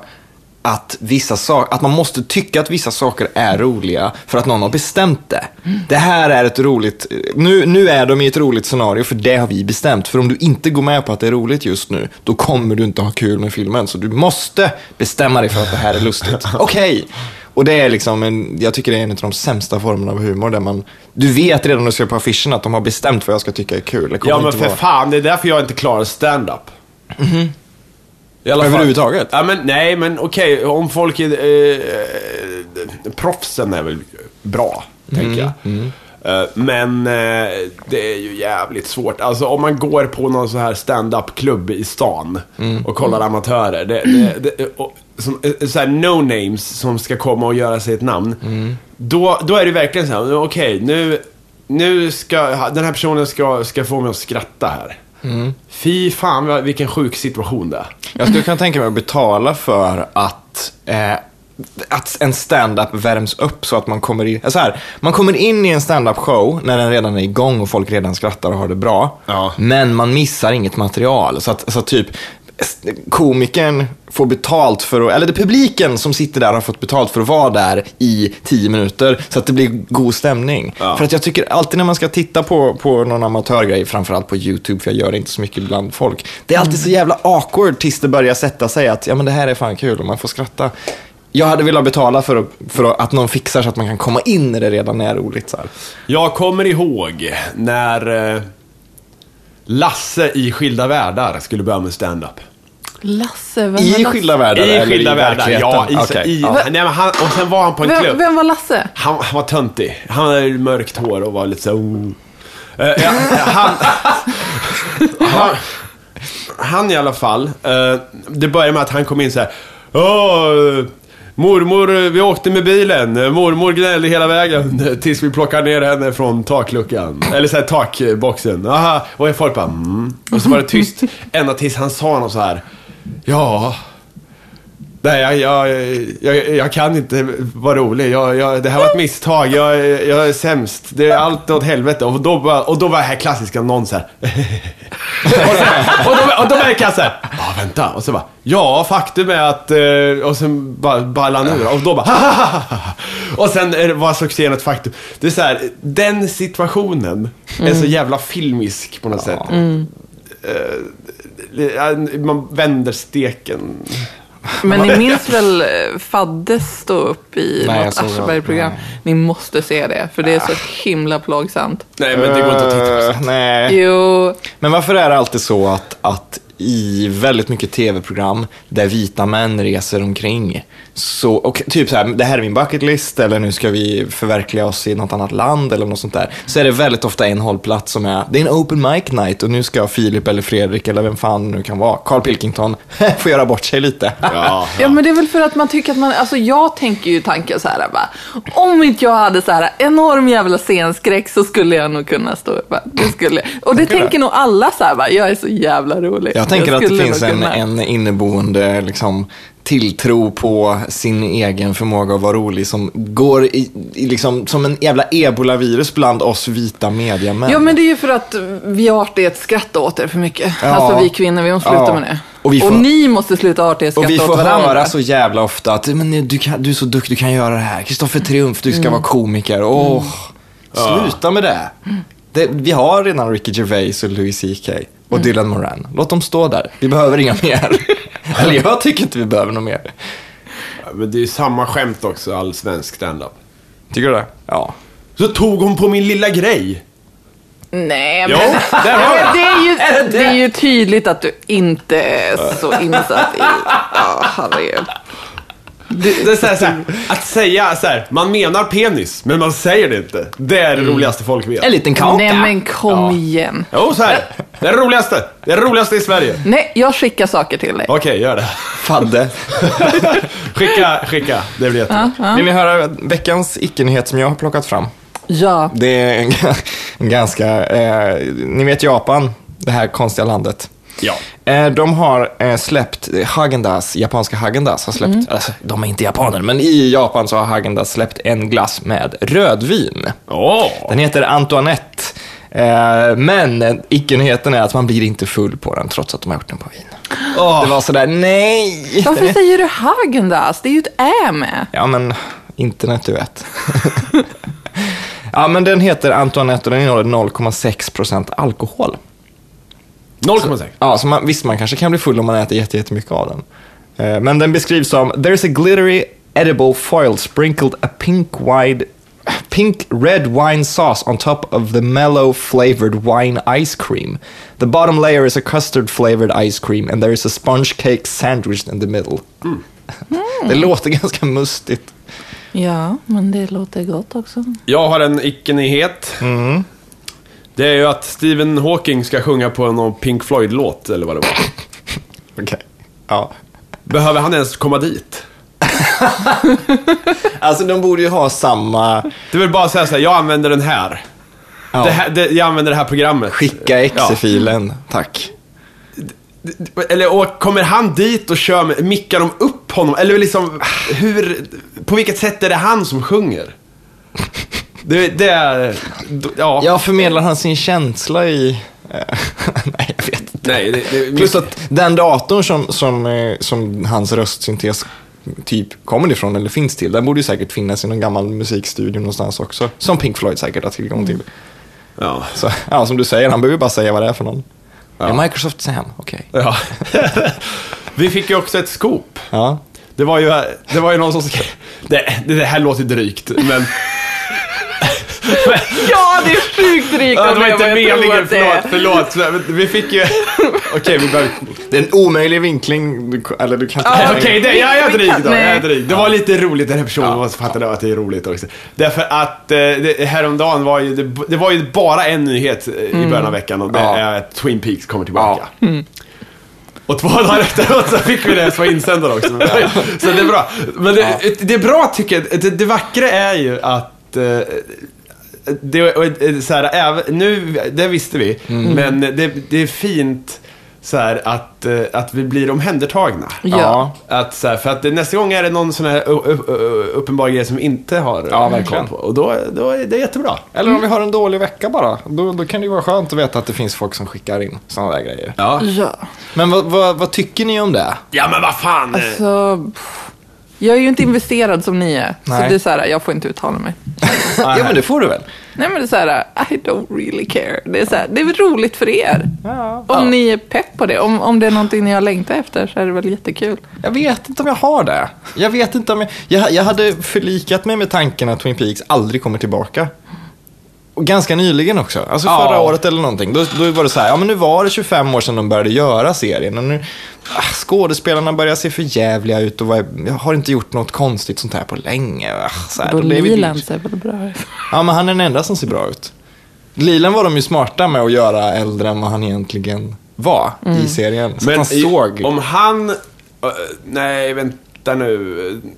B: att, vissa sak, att man måste tycka att vissa saker är roliga för att någon har bestämt det. Det här är ett roligt, nu, nu är de i ett roligt scenario för det har vi bestämt. För om du inte går med på att det är roligt just nu, då kommer du inte ha kul med filmen. Så du måste bestämma dig för att det här är
A: <laughs>
B: lustigt. Okej! Och det är liksom en, jag tycker det är en av de sämsta formerna av humor där man, du vet redan när du ser på affischen att de har bestämt vad jag ska tycka är kul. Det kommer
A: Ja men
B: inte
A: för
B: vara-
A: fan, det är därför jag inte klarar stand-up. I alla fall.
B: Överhuvudtaget?
A: Ja, men, nej, men okej, om folk är... Eh, eh, proffsen är väl bra, tänker jag. Eh, men eh, det är ju jävligt svårt. Alltså om man går på någon så här stand-up-klubb i stan och kollar amatörer. Det, det, det, och, som, eh, så här no-names som ska komma och göra sig ett namn. Då, då är det verkligen så här, okej, nu, nu ska, den här personen ska, ska få mig att skratta här. Fy fan vad- vilken sjuk situation det är.
B: Jag skulle kunna tänka mig att betala för att, eh, att en stand-up värms upp så att man kommer in. Så här, man kommer in i en stand-up show när den redan är igång och folk redan skrattar och har det bra.
A: Ja.
B: Men man missar inget material. Så att, så att typ s- komikern får betalt för att, eller det är publiken som sitter där har fått betalt för att vara där i tio minuter så att det blir god stämning.
A: Ja.
B: För att jag tycker alltid när man ska titta på, på någon amatörgrej, framförallt på YouTube, för jag gör det inte så mycket bland folk. Det är alltid så jävla awkward tills det börjar sätta sig att ja, men det här är fan kul och man får skratta. Jag hade velat betala för, att- för att någon fixar så att man kan komma in när det redan är roligt. Så här.
A: Jag kommer ihåg när eh, Lasse i Skilda Världar skulle börja med stand-up.
C: Lasse, vem var
B: I
C: Lasse?
B: skilda världar?
A: I
B: eller
A: skilda världar,
B: verkligheten?
A: ja. I,
B: Okej,
A: i,
B: ja.
A: Nej, men han, och sen var han på en
C: Vem,
A: klubb.
C: vem var Lasse?
A: Han, han var töntig. Han hade mörkt hår och var lite så... Uh, ja, han, <laughs> han, han i alla fall. eh, det började med att han kom in så här. Åh, mormor, eh, vi åkte med bilen. Eh, Mormor gnällde hela vägen <laughs> eh, tills vi plockade ner henne från takluckan. Eller så här takboxen. Aha. Och folk bara mm. Och så var det tyst ända tills han sa något så här. Ja. Nej, jag, jag, jag, jag kan inte vara rolig. Jag, jag, det här var ett misstag. Jag, jag är sämst. Det är allt åt helvete. Och då, bara, och då var det här klassiska någon så här. och, så, och, då, och då märker jag så här. Ja, vänta. Och så bara. Ja, faktum är att... eh, Och sen bara ballar han ur. Och då bara. <laughs> Och sen är det- var succén ett faktum. Det är så här. Den situationen är så jävla filmisk på något sätt. Eh, Man vänder steken.
C: Men ni minns väl eh, Faddes stå upp i
B: Nej, jag
C: något
B: såg det.
C: Aschberg-program? Ni måste se det, för det är så himla plågsamt.
A: Nej, men det går inte att titta på.
B: Eh, nej.
C: <laughs> Jo,
B: Men varför är det alltid så att, att i väldigt mycket tv-program där vita män reser omkring, så, och typ så här, det här är min bucketlist eller nu ska vi förverkliga oss i något annat land eller något sånt där, så är det väldigt ofta en hållplats som är, det är en open mic night och nu ska Filip eller Fredrik eller vem fan det nu kan vara, Carl Pilkington, <laughs> få göra bort sig lite.
A: Ja.
C: Ja, men det är väl för att man tycker att man, alltså jag tänker ju tanken så här bara, om inte jag hade så här enorm jävla scenskräck så skulle jag nog kunna stå upp. här. Det skulle, och det tänker nog alla så här bara, jag är så jävla rolig.
B: Jag tänker att det
C: skulle
B: finns
C: nog
B: en,
C: kunna.
B: en inneboende liksom, tilltro på sin egen förmåga att vara rolig som går i, i, liksom, som en jävla ebola-virus bland oss vita mediamän.
C: Ja, men det är ju för att vi artighetsskrattar åt er för mycket.
B: Ja.
C: Alltså vi kvinnor, vi måste sluta
B: Ja.
C: med det.
B: Och vi får-
C: ni måste sluta
B: och vi
C: artighetskratta
B: får
C: åt varandra.
B: höra alltså- så jävla ofta att men, du, kan, du är så duktig, du kan göra det här. Kristoffer Triumf, du ska
C: Mm.
B: vara komiker. Åh, Sluta med det. det. Vi har redan Ricky Gervais och Louis CK och
C: Mm.
B: Dylan Moran. Låt dem stå där. Vi behöver inga
C: <laughs>
B: mer. Eller jag tycker inte vi behöver något mer.
A: Men det är ju samma skämt också, all svensk standup.
B: Tycker du det? Ja.
A: Så tog hon på min lilla grej.
C: Nej,
A: Jo,
C: men...
A: där har
C: Ja,
A: jag
C: men
A: det.
C: det, är ju, det? är ju tydligt att du inte är så insatt i... Ja, herregud. Du,
A: Det är så här, så här, att säga så här, man menar penis, men man säger det inte. Det är det roligaste folk vet.
B: En liten kaka.
C: Nej men kom igen.
A: Jo, så här. Det är det roligaste. Det är det roligaste i Sverige.
C: Nej, jag skickar saker till dig.
A: Okej, gör det. <laughs>
B: Fadde.
A: Skicka, skicka. Det blir jättebra.
B: Vill ni höra veckans icke-nyhet som jag har plockat fram?
C: Ja.
B: Det är en, g- en ganska... Eh, ni vet Japan, det här konstiga landet.
A: Ja.
B: Eh, de har eh, släppt, Hagendas, japanska Hagendas har
C: Mm.
B: släppt, alltså, de är inte japaner, men i Japan så har Hagendas släppt en glass med rödvin.
A: Åh!
B: Den heter Antoinette. Eh, men eh, icke-nyheten är att man blir inte full på den trots att de har gjort den på vin.
A: Åh.
B: Det var sådär, nej!
C: Varför säger du Hagendas? Det är ju ett Ä med.
B: Ja, men internet du vet. <laughs> ja, men den heter Antoinette och den innehåller 0,6% alkohol.
A: 0,6.
B: Ja, så man, visst, man kanske kan bli full om man äter jätte- jättemycket av den. Eh, Men den beskrivs som “There's a glittery edible foil sprinkled a pink wide Pink red wine sauce on top of the mellow flavored wine ice cream. The bottom layer is a custard flavored ice cream and there is a sponge cake sandwiched in the middle. <laughs> Det låter <laughs> ganska mustigt.
C: Ja, men det låter gott också.
A: Jag har en icke-nyhet. Det är ju att Stephen Hawking ska sjunga på någon Pink Floyd-låt, eller vad det var.
B: Okej. Ja.
A: Behöver han ens komma dit?
B: Alltså de borde ju ha samma...
A: Du vill bara säga så här, jag använder den här.
B: Ja.
A: Det här det, jag använder det här programmet.
B: Skicka
A: Ja.
B: exe-filen, tack.
A: Eller och kommer han dit och kör med, mickar de upp honom? Eller liksom, hur, på vilket sätt är det han som sjunger? Det, det är, ja.
B: Jag förmedlar han sin känsla i... eh, <laughs> Nej, jag vet inte.
A: Nej, det, det,
B: Plus att den datorn som, som, eh, som hans röstsyntes typ kommer ifrån eller finns till, den borde ju säkert finnas i någon gammal musikstudio någonstans också. Som Pink Floyd säkert har tillgång
A: Mm.
B: till.
A: ja.
B: Så, ja, som du säger, han behöver ju bara säga vad det är för någon. Är Microsoft Sam? Okej.
A: ja. Vi fick ju också ett scoop.
B: Ja.
A: Det var ju, det var ju någon som skrev... Det, det här låter drygt, men...
C: Ja, det är sjukt rikt
A: Ja,
C: av
A: det var
C: mig,
A: inte
C: men jag tror
A: meningen,
C: att det är-
A: förlåt, förlåt. Vi fick <laughs> ju... Okej, vi behöver...
B: Det är en omöjlig vinkling, du, eller du kan inte...
C: Ja,
A: Ah, Okej, det, jag är
C: Vi- vi
A: dryg
C: kan-
A: då. Jag är
C: nej.
A: dryg. Det var lite roligt den här personen ja. fattade att det är roligt också. Därför att eh, det, häromdagen var ju, det, det var ju bara en nyhet eh, i
C: Mm.
A: början av veckan och det
B: Ja.
A: är att Twin Peaks kommer tillbaka. Och två dagar efteråt så fick vi det som var insändare också. Så det är bra. Men det, det är bra tycker jag. Det, det vackra är ju att eh, det, och, eh, så här, även, nu, det visste vi, men det, det är fint så här, att, eh, att vi blir omhändertagna.
C: Ja.
A: Att, så här, för att det- nästa gång är det någon sån här ö- ö- ö- uppenbar grej som vi inte har eh,
B: Ja, verkligen.
A: koll på. Och då, då är det jättebra.
B: Eller om vi har en dålig vecka bara. Då, då kan det ju vara skönt att veta att det finns folk som skickar in sådana där grejer.
A: Ja.
C: Ja.
B: Men vad, vad, vad tycker ni om det?
A: ja, men vad fan.
B: Eh.
C: Alltså, pff. jag är ju inte investerad som ni är. Så
B: Nej.
C: det är så här, jag får inte uttala mig.
B: ja, men det får du väl?
C: Nej men det är så här, I don't really care. Det är, så här, det är väl roligt för er. Om ni är pepp på det. Om, om det är någonting ni har längtat efter så är det väl jättekul.
B: Jag vet inte om jag har det. Jag vet inte om jag... Jag, jag hade förlikat mig med tanken att Twin Peaks aldrig kommer tillbaka. Och ganska nyligen också. Alltså
A: Ja.
B: förra året eller någonting. Då, då var det så här, ja men nu var det 25 år sedan de började göra serien. Och nu, ah, skådespelarna börjar se för jävliga ut och vad, jag har inte gjort något konstigt sånt här på länge. Ah, så här, då blev det-
C: Lilan ser väl bra ut.
B: Ja, men han är den enda som ser bra ut. Lilan var de ju smarta med att göra äldre än vad han egentligen var i serien. Så att han
A: i-
B: såg...
A: om han... eh, nej, vänta nu. Eh,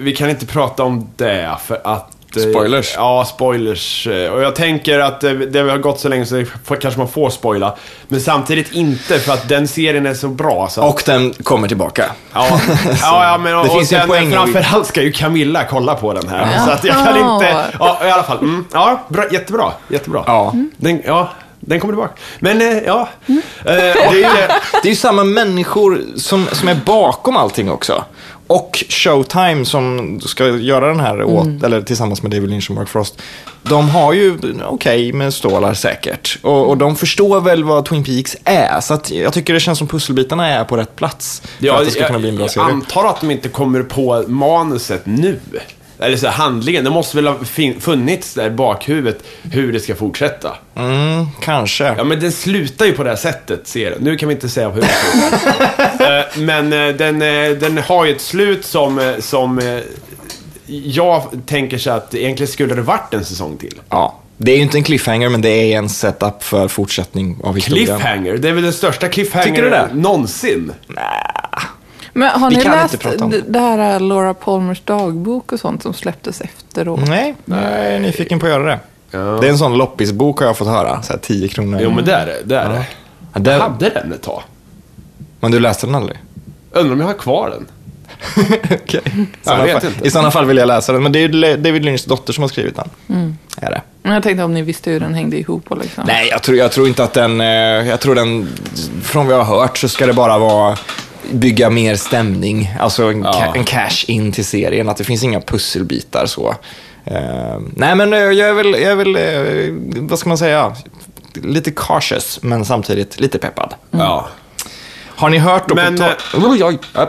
A: Vi kan inte prata om det för att... eh,
B: Spoilers.
A: Ja, spoilers. Eh, Och jag tänker att eh, det har gått så länge så det får- kanske man får spoila. Men samtidigt inte för att den serien är så bra. Så att-
B: Och den kommer tillbaka. <laughs>
A: Ja, ja, ja men
B: Alltså, Det
A: och, och
B: finns en
A: sen,
B: poäng i-
A: framförallt ska ju Camilla kolla på den här.
C: Ja.
A: Så att jag kan
C: Ja.
A: inte... Ja, i alla fall. Mm, ja, bra, jättebra. Jättebra.
B: Ja. Mm.
A: Den, ja, den kommer tillbaka. Men, eh, ja. Eh, och,
B: <laughs>
A: eh,
B: Det är ju samma människor som, som är bakom allting också. Och Showtime som ska göra den här åt, eller tillsammans med David Lynch och Mark Frost. De har ju okej med stålar säkert. Och, och de förstår väl vad Twin Peaks är. Så att jag tycker det känns som pusselbitarna är på rätt plats. För att det ska kunna bli en bra
A: jag
B: serie.
A: antar att de inte kommer på manuset nu. Eller så här, handlingen. Det måste väl ha fin- funnits där i bakhuvudet hur det ska fortsätta.
B: Mm, kanske.
A: Ja, men den slutar ju på det här sättet, ser du. Nu kan vi inte säga hur den slutar. Eh, Men eh, den, eh, den har ju ett slut som, eh, som eh, jag tänker så att egentligen skulle det varit en säsong till.
B: Ja. Det är ju inte en cliffhanger, men det är en setup för fortsättning av historien.
A: Cliffhanger, det är väl den största
B: Tycker du det?
A: cliffhanger någonsin.
C: Men har
B: Vi
C: ni
B: kan inte
C: läst
B: prata om
C: d-
B: det.
C: det här eh, Laura Palmers dagbok och sånt som släpptes efteråt?
B: Nej, jag är nyfiken på att göra det. Det är en sån loppisbok har jag fått höra. Så här 10 kronor.
A: Jo, men det är det. det, är det.
B: Ja,
A: Jag
B: där,
A: hade den ett tag.
B: men du läste den
A: <laughs>
B: aldrig?
A: Undrar om jag har kvar den.
B: Okej. I sådana
A: vet
B: fall-
A: inte.
B: I sådana fall vill jag läsa den. Men det är ju Le- David Lynchs dotter som har skrivit den. Är det?
C: Men jag tänkte om ni visste hur den hängde ihop och liksom.
B: Nej, jag tror, jag tror inte att den... eh, Jag tror den... Från vad jag har hört så ska det bara vara bygga mer stämning. Alltså en, ca- en cash-in till serien. Att det finns inga pusselbitar så. Eh, nej, men eh, jag är väl... Jag är väl eh, vad ska man säga? Lite cautious, men samtidigt lite peppad.
A: Ja.
B: Har ni hört då
A: Men,
B: på...
A: eh,
B: ta- Oj, oj, oj.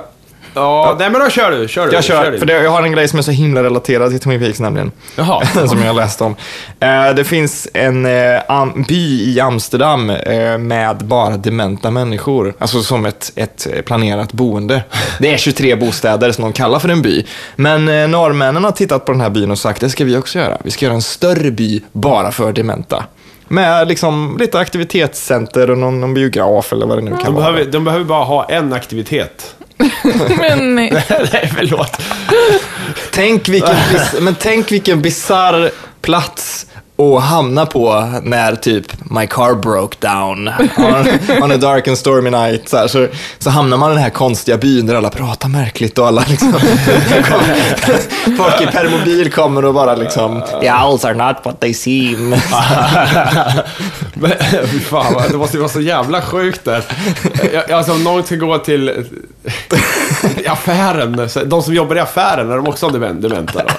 A: Ja, nej men då kör du. Kör du.
B: Jag kör,
A: du.
B: för det, jag har en grej som är så himla relaterad till Twin Peaks nämligen.
A: Jaha.
B: <laughs> som jag läste om. Eh, det finns en eh, am- by i Amsterdam eh, med bara dementa människor. Alltså som ett, ett planerat boende. Det är 23 bostäder som de kallar för en by. Men eh, norrmännen har tittat på den här byn och sagt, det ska vi också göra. Vi ska göra en större by bara för dementa. Med liksom lite aktivitetscenter och någon, någon biograf eller vad det nu kan
A: De
B: vara.
A: behöver, de behöver bara ha
B: <laughs>
A: en aktivitet.
C: Men ni-
A: nej, förlåt.
B: Tänk vilken, <laughs> bis- men tänk vilken bizarr plats att hamna på när typ my car broke down on, on a dark and stormy night. Så, här, så, så hamnar man i den här konstiga byn där alla pratar märkligt och alla liksom, <laughs> folk i permobil kommer och bara liksom, the owls are not what they seem.
A: Men, <laughs> fy fan, vad- det måste ju vara så jävla sjukt där. Jag- Alltså om någon ska gå till <laughs> i affären, så- de som jobbar i affären, <laughs> är de också demen- dementa då?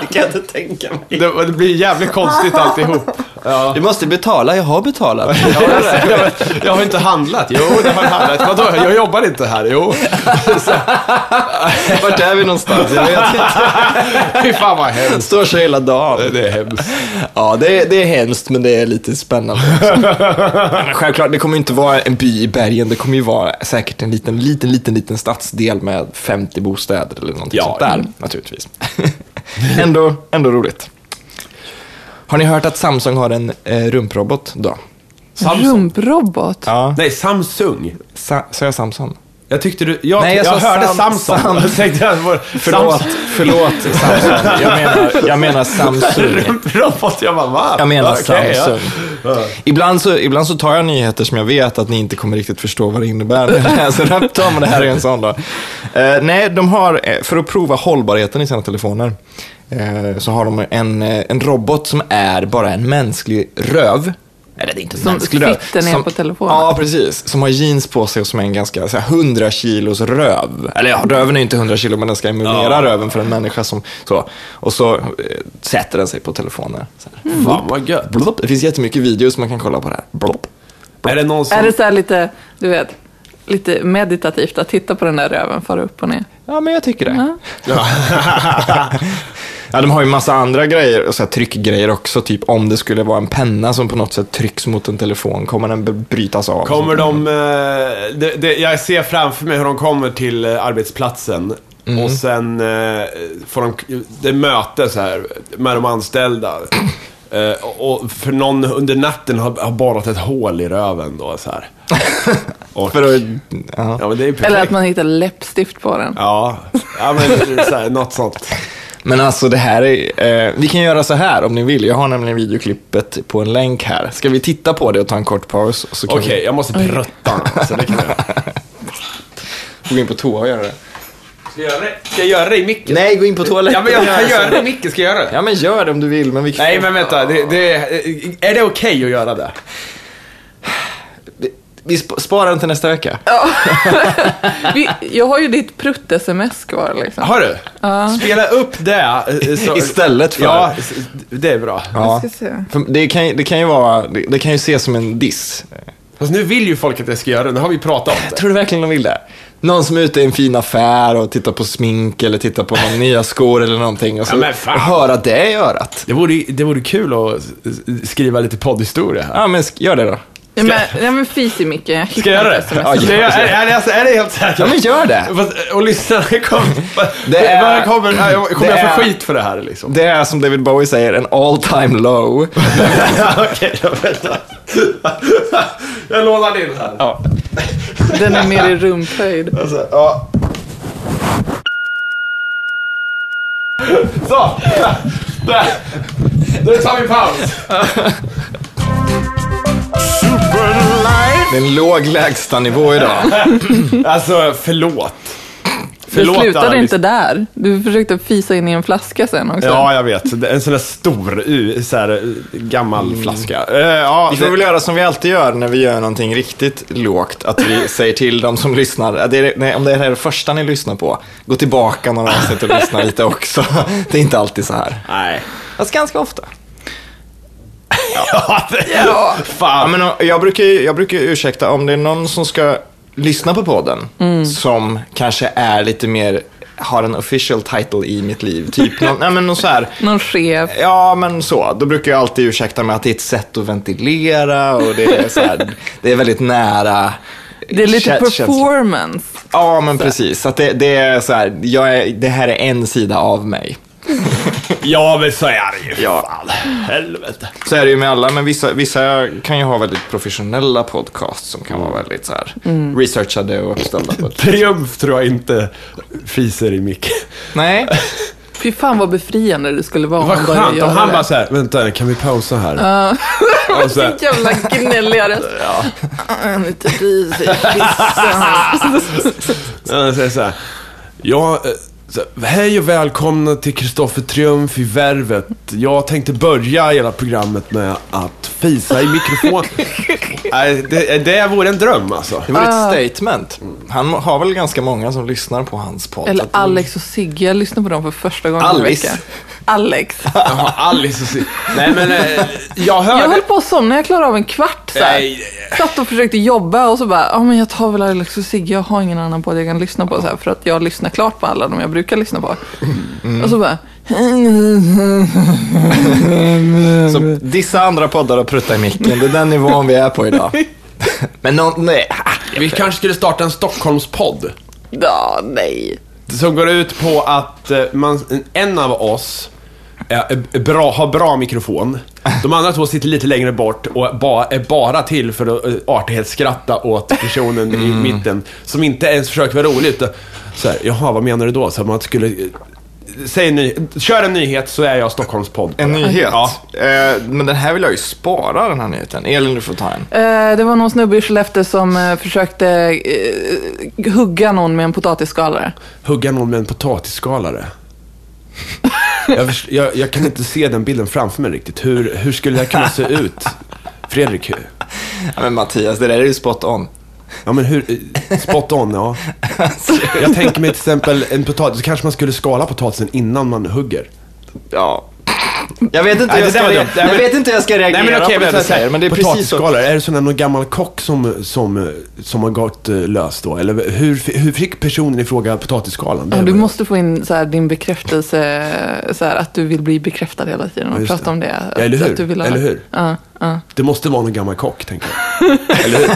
B: det kan jag inte tänka mig.
A: <laughs> Det, det blir jävligt konstigt alltihop. Ja.
D: Du måste betala, jag har betalat.
A: alltså, Jag har inte handlat. Jo, det har jag handlat. Vadå, jag jobbar inte här. <laughs> Jo.
B: <laughs> Vart är vi någonstans? Jag vet inte.
A: Fy fan vad hemskt.
B: Står sig hela dagen.
A: Det är hemskt.
B: Ja, det är, det är hemskt, men det är lite spännande också. Nej, Men självklart, det kommer ju inte vara en by i bergen. Det kommer ju vara säkert en liten, liten, liten, liten stadsdel med 50 bostäder eller någonting
A: Ja.
B: sånt där, naturligtvis. <laughs> ändå, ändå roligt. Har ni hört att Samsung har en eh, rumprobot då?
A: Samsung.
C: Rumprobot?
B: Ja.
A: <laughs> Nej, Samsung.
B: Sa, sa jag Samsung?
A: Jag tyckte du... Jag,
B: Nej,
A: Nej,
B: jag
A: jag,
B: sa
A: hörde
B: Sam-
A: Samsung.
B: Sam-
A: Jag tänkte att det var...
B: Förlåt, förlåt Samsung. Jag menar, jag menar
A: <laughs>
B: Samsung.
A: Samsung. Robot, jag bara va?
B: Jag menar
A: Okej, ja.
B: Samsung. Ibland, så, ibland så tar jag nyheter som jag vet att ni inte kommer riktigt förstå vad det innebär <laughs> när
C: <laughs>
B: jag läser dem. Ta men det här är en sån då. Eh, nej, de har, eh, för att prova hållbarheten i sina telefoner, eh, så har de en, eh, en robot som är bara en mänsklig röv. Eller det är inte en
C: Som
B: mänsklig röv.
C: sitter ner på telefonen.
B: Ja, precis. Som har jeans på sig och som är en ganska så här, 100 kilos röv. Eller ja, röven är ju inte 100 kilo, men den ska emulera röven för en människa som så. Och så eh, sätter den sig på telefoner. Så här.
C: Mm.
A: Fan vad gött.
B: Blopp. Det finns jättemycket videos man kan kolla på det här. Blopp.
A: Är det någon som...
C: Är det så här lite, du vet, lite meditativt att titta på den där röven fara upp och ner?
B: Ja, men jag tycker det.
C: Ja.
B: Ja, <laughs> de har ju massa andra grejer, så här, tryckgrejer också. Typ om det skulle vara en penna som på något sätt trycks mot en telefon, kommer den b- brytas av?
A: Kommer de... eh, det, det, jag ser framför mig hur de kommer till eh, arbetsplatsen. Och sen eh, får de... Det är möte så här med de <clears throat> anställda. Eh, och och för någon under natten har, har borrat ett hål i röven då så <laughs> här. Och,
B: För att, ja.
A: ja, men det är ju perfekt.
C: Eller att man hittar läppstift på den.
A: Ja, ja men så här, något sånt. <laughs>
B: Men alltså det här är... Eh, vi kan göra så här om ni vill. Jag har nämligen videoklippet på en länk här. Ska vi titta på det och ta en kort paus? Och så kan
A: Okej, jag måste prutta nu, så det kan jag göra.
B: vi få gå in på toa och göra det.
A: Ska jag göra det? Ska jag göra det i micken?
B: Nej, gå in på toaletten.
A: Ja, men jag kan göra det i micken. Ska jag göra det?
B: Ja, men gör det om du vill. Men vi
A: Nej, men vänta. Det, det, är det okej att göra det?
B: Vi sp- sparar den till nästa vecka.
C: Vi, jag har ju ditt prutt-sms kvar liksom.
A: Har du? Spela upp det. eh, så-
B: Istället för-
A: Ja, s- det är bra.
B: Ja.
C: Jag ska se.
B: För det, kan, ju- det kan ju vara, det, det kan ju ses som en diss.
A: Fast nu vill ju folk att jag ska göra det. Nu har vi pratat om det.
B: Tror du verkligen de vill det? Någon som är ute i en fin affär och tittar på smink eller tittar på några <laughs> nya skor eller någonting och så
A: Ja, men fan.
B: och höra det i örat.
A: Det vore, det vore kul att s- skriva lite poddhistoria här.
B: Ja, men sk- gör det då.
C: Nej men, nej, men fis i micken, jag
A: Ska jag göra det?
B: Ja,
A: Ska jag,
B: gör
A: är, är, det alltså, är det helt
B: Ja,
A: säkert?
B: men gör det.
A: Fast, eh, Och lyssnarna kommer...
B: Det är-
A: vad kommer, eh, kommer
B: det
A: jag få
B: är-
A: skit för det här liksom?
B: Det är som David Bowie säger, en all time low.
A: Okej, jag väntar. <laughs> Jag lånar in här.
C: Den är mer
A: <laughs>
C: i rumphöjd.
A: Alltså, ja. Så! Där! Nu tar vi paus.
B: Det är en låg lägstanivå idag.
A: Alltså, förlåt.
C: Du
A: Förlåt,
C: slutade
A: alla
C: inte där. Du försökte fisa in i en flaska sen också.
A: Ja, jag vet. Det är En sån där stor, u- så här, u- gammal flaska. Eh, ja,
B: Vi får
A: det-
B: väl göra som vi alltid gör när vi gör någonting riktigt lågt, att
A: <laughs>
B: vi säger till de som lyssnar, att det är, nej, om det här är det första ni lyssnar på, gå tillbaka några avsnitt och
A: <laughs>
B: lyssna lite också. Det är inte alltid så här.
A: Nej.
B: Fast ganska ofta.
A: Ja, det...
B: Ja,
A: <laughs> Fan.
B: men, och jag, brukar ju, jag brukar ju ursäkta om det är någon som ska lyssna på podden som kanske är lite mer, har en official title i mitt liv. Typ någon, nej, men någon så här,
C: Någon chef.
B: ja men så. Då brukar jag alltid ursäkta med att det är ett sätt att ventilera och det är, så här, det är väldigt nära.
C: Det är lite
B: kä- känslan.
C: performance.
B: Ja, men precis. Så att det, det är så här, jag är, det här är en sida av
C: <laughs>
B: mig.
A: Ja, men så är det ju.
B: Ja.
A: Fan. Helvete.
B: Så är det ju med alla, men vissa, vissa kan ju ha väldigt professionella podcasts som kan
C: Mm.
B: vara väldigt så här researchade och
C: <laughs>
B: uppställda på ett
A: Triumf tror jag inte fiser i micken.
B: Nej,
C: Fy fan vad befriande det skulle vara
A: Vad
C: om började
A: skönt om
C: göra
A: han
C: det.
A: bara såhär, vänta kan vi pausa här? och så här,
C: Vilken jävla gnälliga röst. <laughs> Han är lite risig.
A: <laughs> han säger såhär, ja, eh, så här, hej och välkomna till Kristoffer Triumf i Värvet. Jag tänkte börja hela programmet med att fisa i
C: <laughs>
A: mikrofon. Nej, det, eh, det vore en dröm alltså.
B: Det var
C: Ah.
B: ett statement. Han har väl ganska många som lyssnar på hans podd.
C: Eller
B: Så att-
C: Alex och Sigge, jag lyssnar på dem för första gången
B: Alice.
C: i veckan.
B: <laughs>
C: Alex.
A: Jaha, Alice och Sig- Nej men, eh, jag hörde...
C: Jag höll på att somna, jag klarade av en kvart så här.
A: Nej.
C: Satt och försökte jobba och så bara, ja men jag tar väl Alex och Sigge, jag har ingen annan podd jag kan lyssna på så här, för att jag lyssnar klart på alla de jag brukar lyssna på.
B: Mm.
C: Och så bara, <laughs>
B: Så
A: Mm.
B: dissa andra poddar och prutta i micken. Det är den nivån vi är på
A: <laughs>
B: idag. Men någon, nej.
A: Vi kanske skulle starta en Stockholmspodd.
C: ja nej.
A: Som går ut på att eh, man, en av oss eh, är bra, har bra mikrofon. De andra två sitter lite längre bort och ba, är bara till för att eh, artighetsskratta åt personen i mitten. Som inte ens försöker vara rolig. utan Så här, jaha, vad menar du då? Så att man skulle... eh, Säg en ny, kör en nyhet så är jag Stockholmspodd.
B: En nyhet.
A: Ja.
B: Eh, men den här vill jag ju spara, den här nyheten. Elin, du får ta en.
C: Eh, det var någon snubbe i Skellefteå som eh, försökte eh, hugga någon med en potatisskalare.
A: Hugga någon med en potatisskalare. jag, förs- jag, jag kan inte se den bilden framför mig riktigt. Hur, hur skulle det här kunna se ut? Fredrik, hur?
B: Ja, men Mattias, det där är ju spot on.
A: Ja, men hur? eh, Spot on,
B: <laughs>
A: ja. Jag tänker mig till exempel en potatis, så kanske man skulle skala potatisen innan man hugger.
B: Ja. Jag vet inte
A: Nej,
B: hur jag,
A: det där
B: ska,
A: var dumt. Nej,
B: jag
A: men-
B: vet inte hur jag ska reagera
A: Nej men okej,
B: på det
A: men,
B: du
A: så här,
B: säger, men det är precis så.
A: potatisskalare, är det sån där någon gammal kock som, som, eh, som har gått eh, lös då? Eller hur, fi- hur fick personen i fråga potatisskalan? Det
C: Ja, du
A: var-
C: måste få in så här, din bekräftelse, så här, att du vill bli bekräftad hela tiden
A: Ja,
C: och
A: just
C: prata
A: det.
C: om det.
A: Ja, eller
C: Att-
A: hur?
C: Att du vill ha...
A: Eller hur?
C: Ja, ja.
A: Det måste vara någon gammal kock, tänker jag. Eller hur?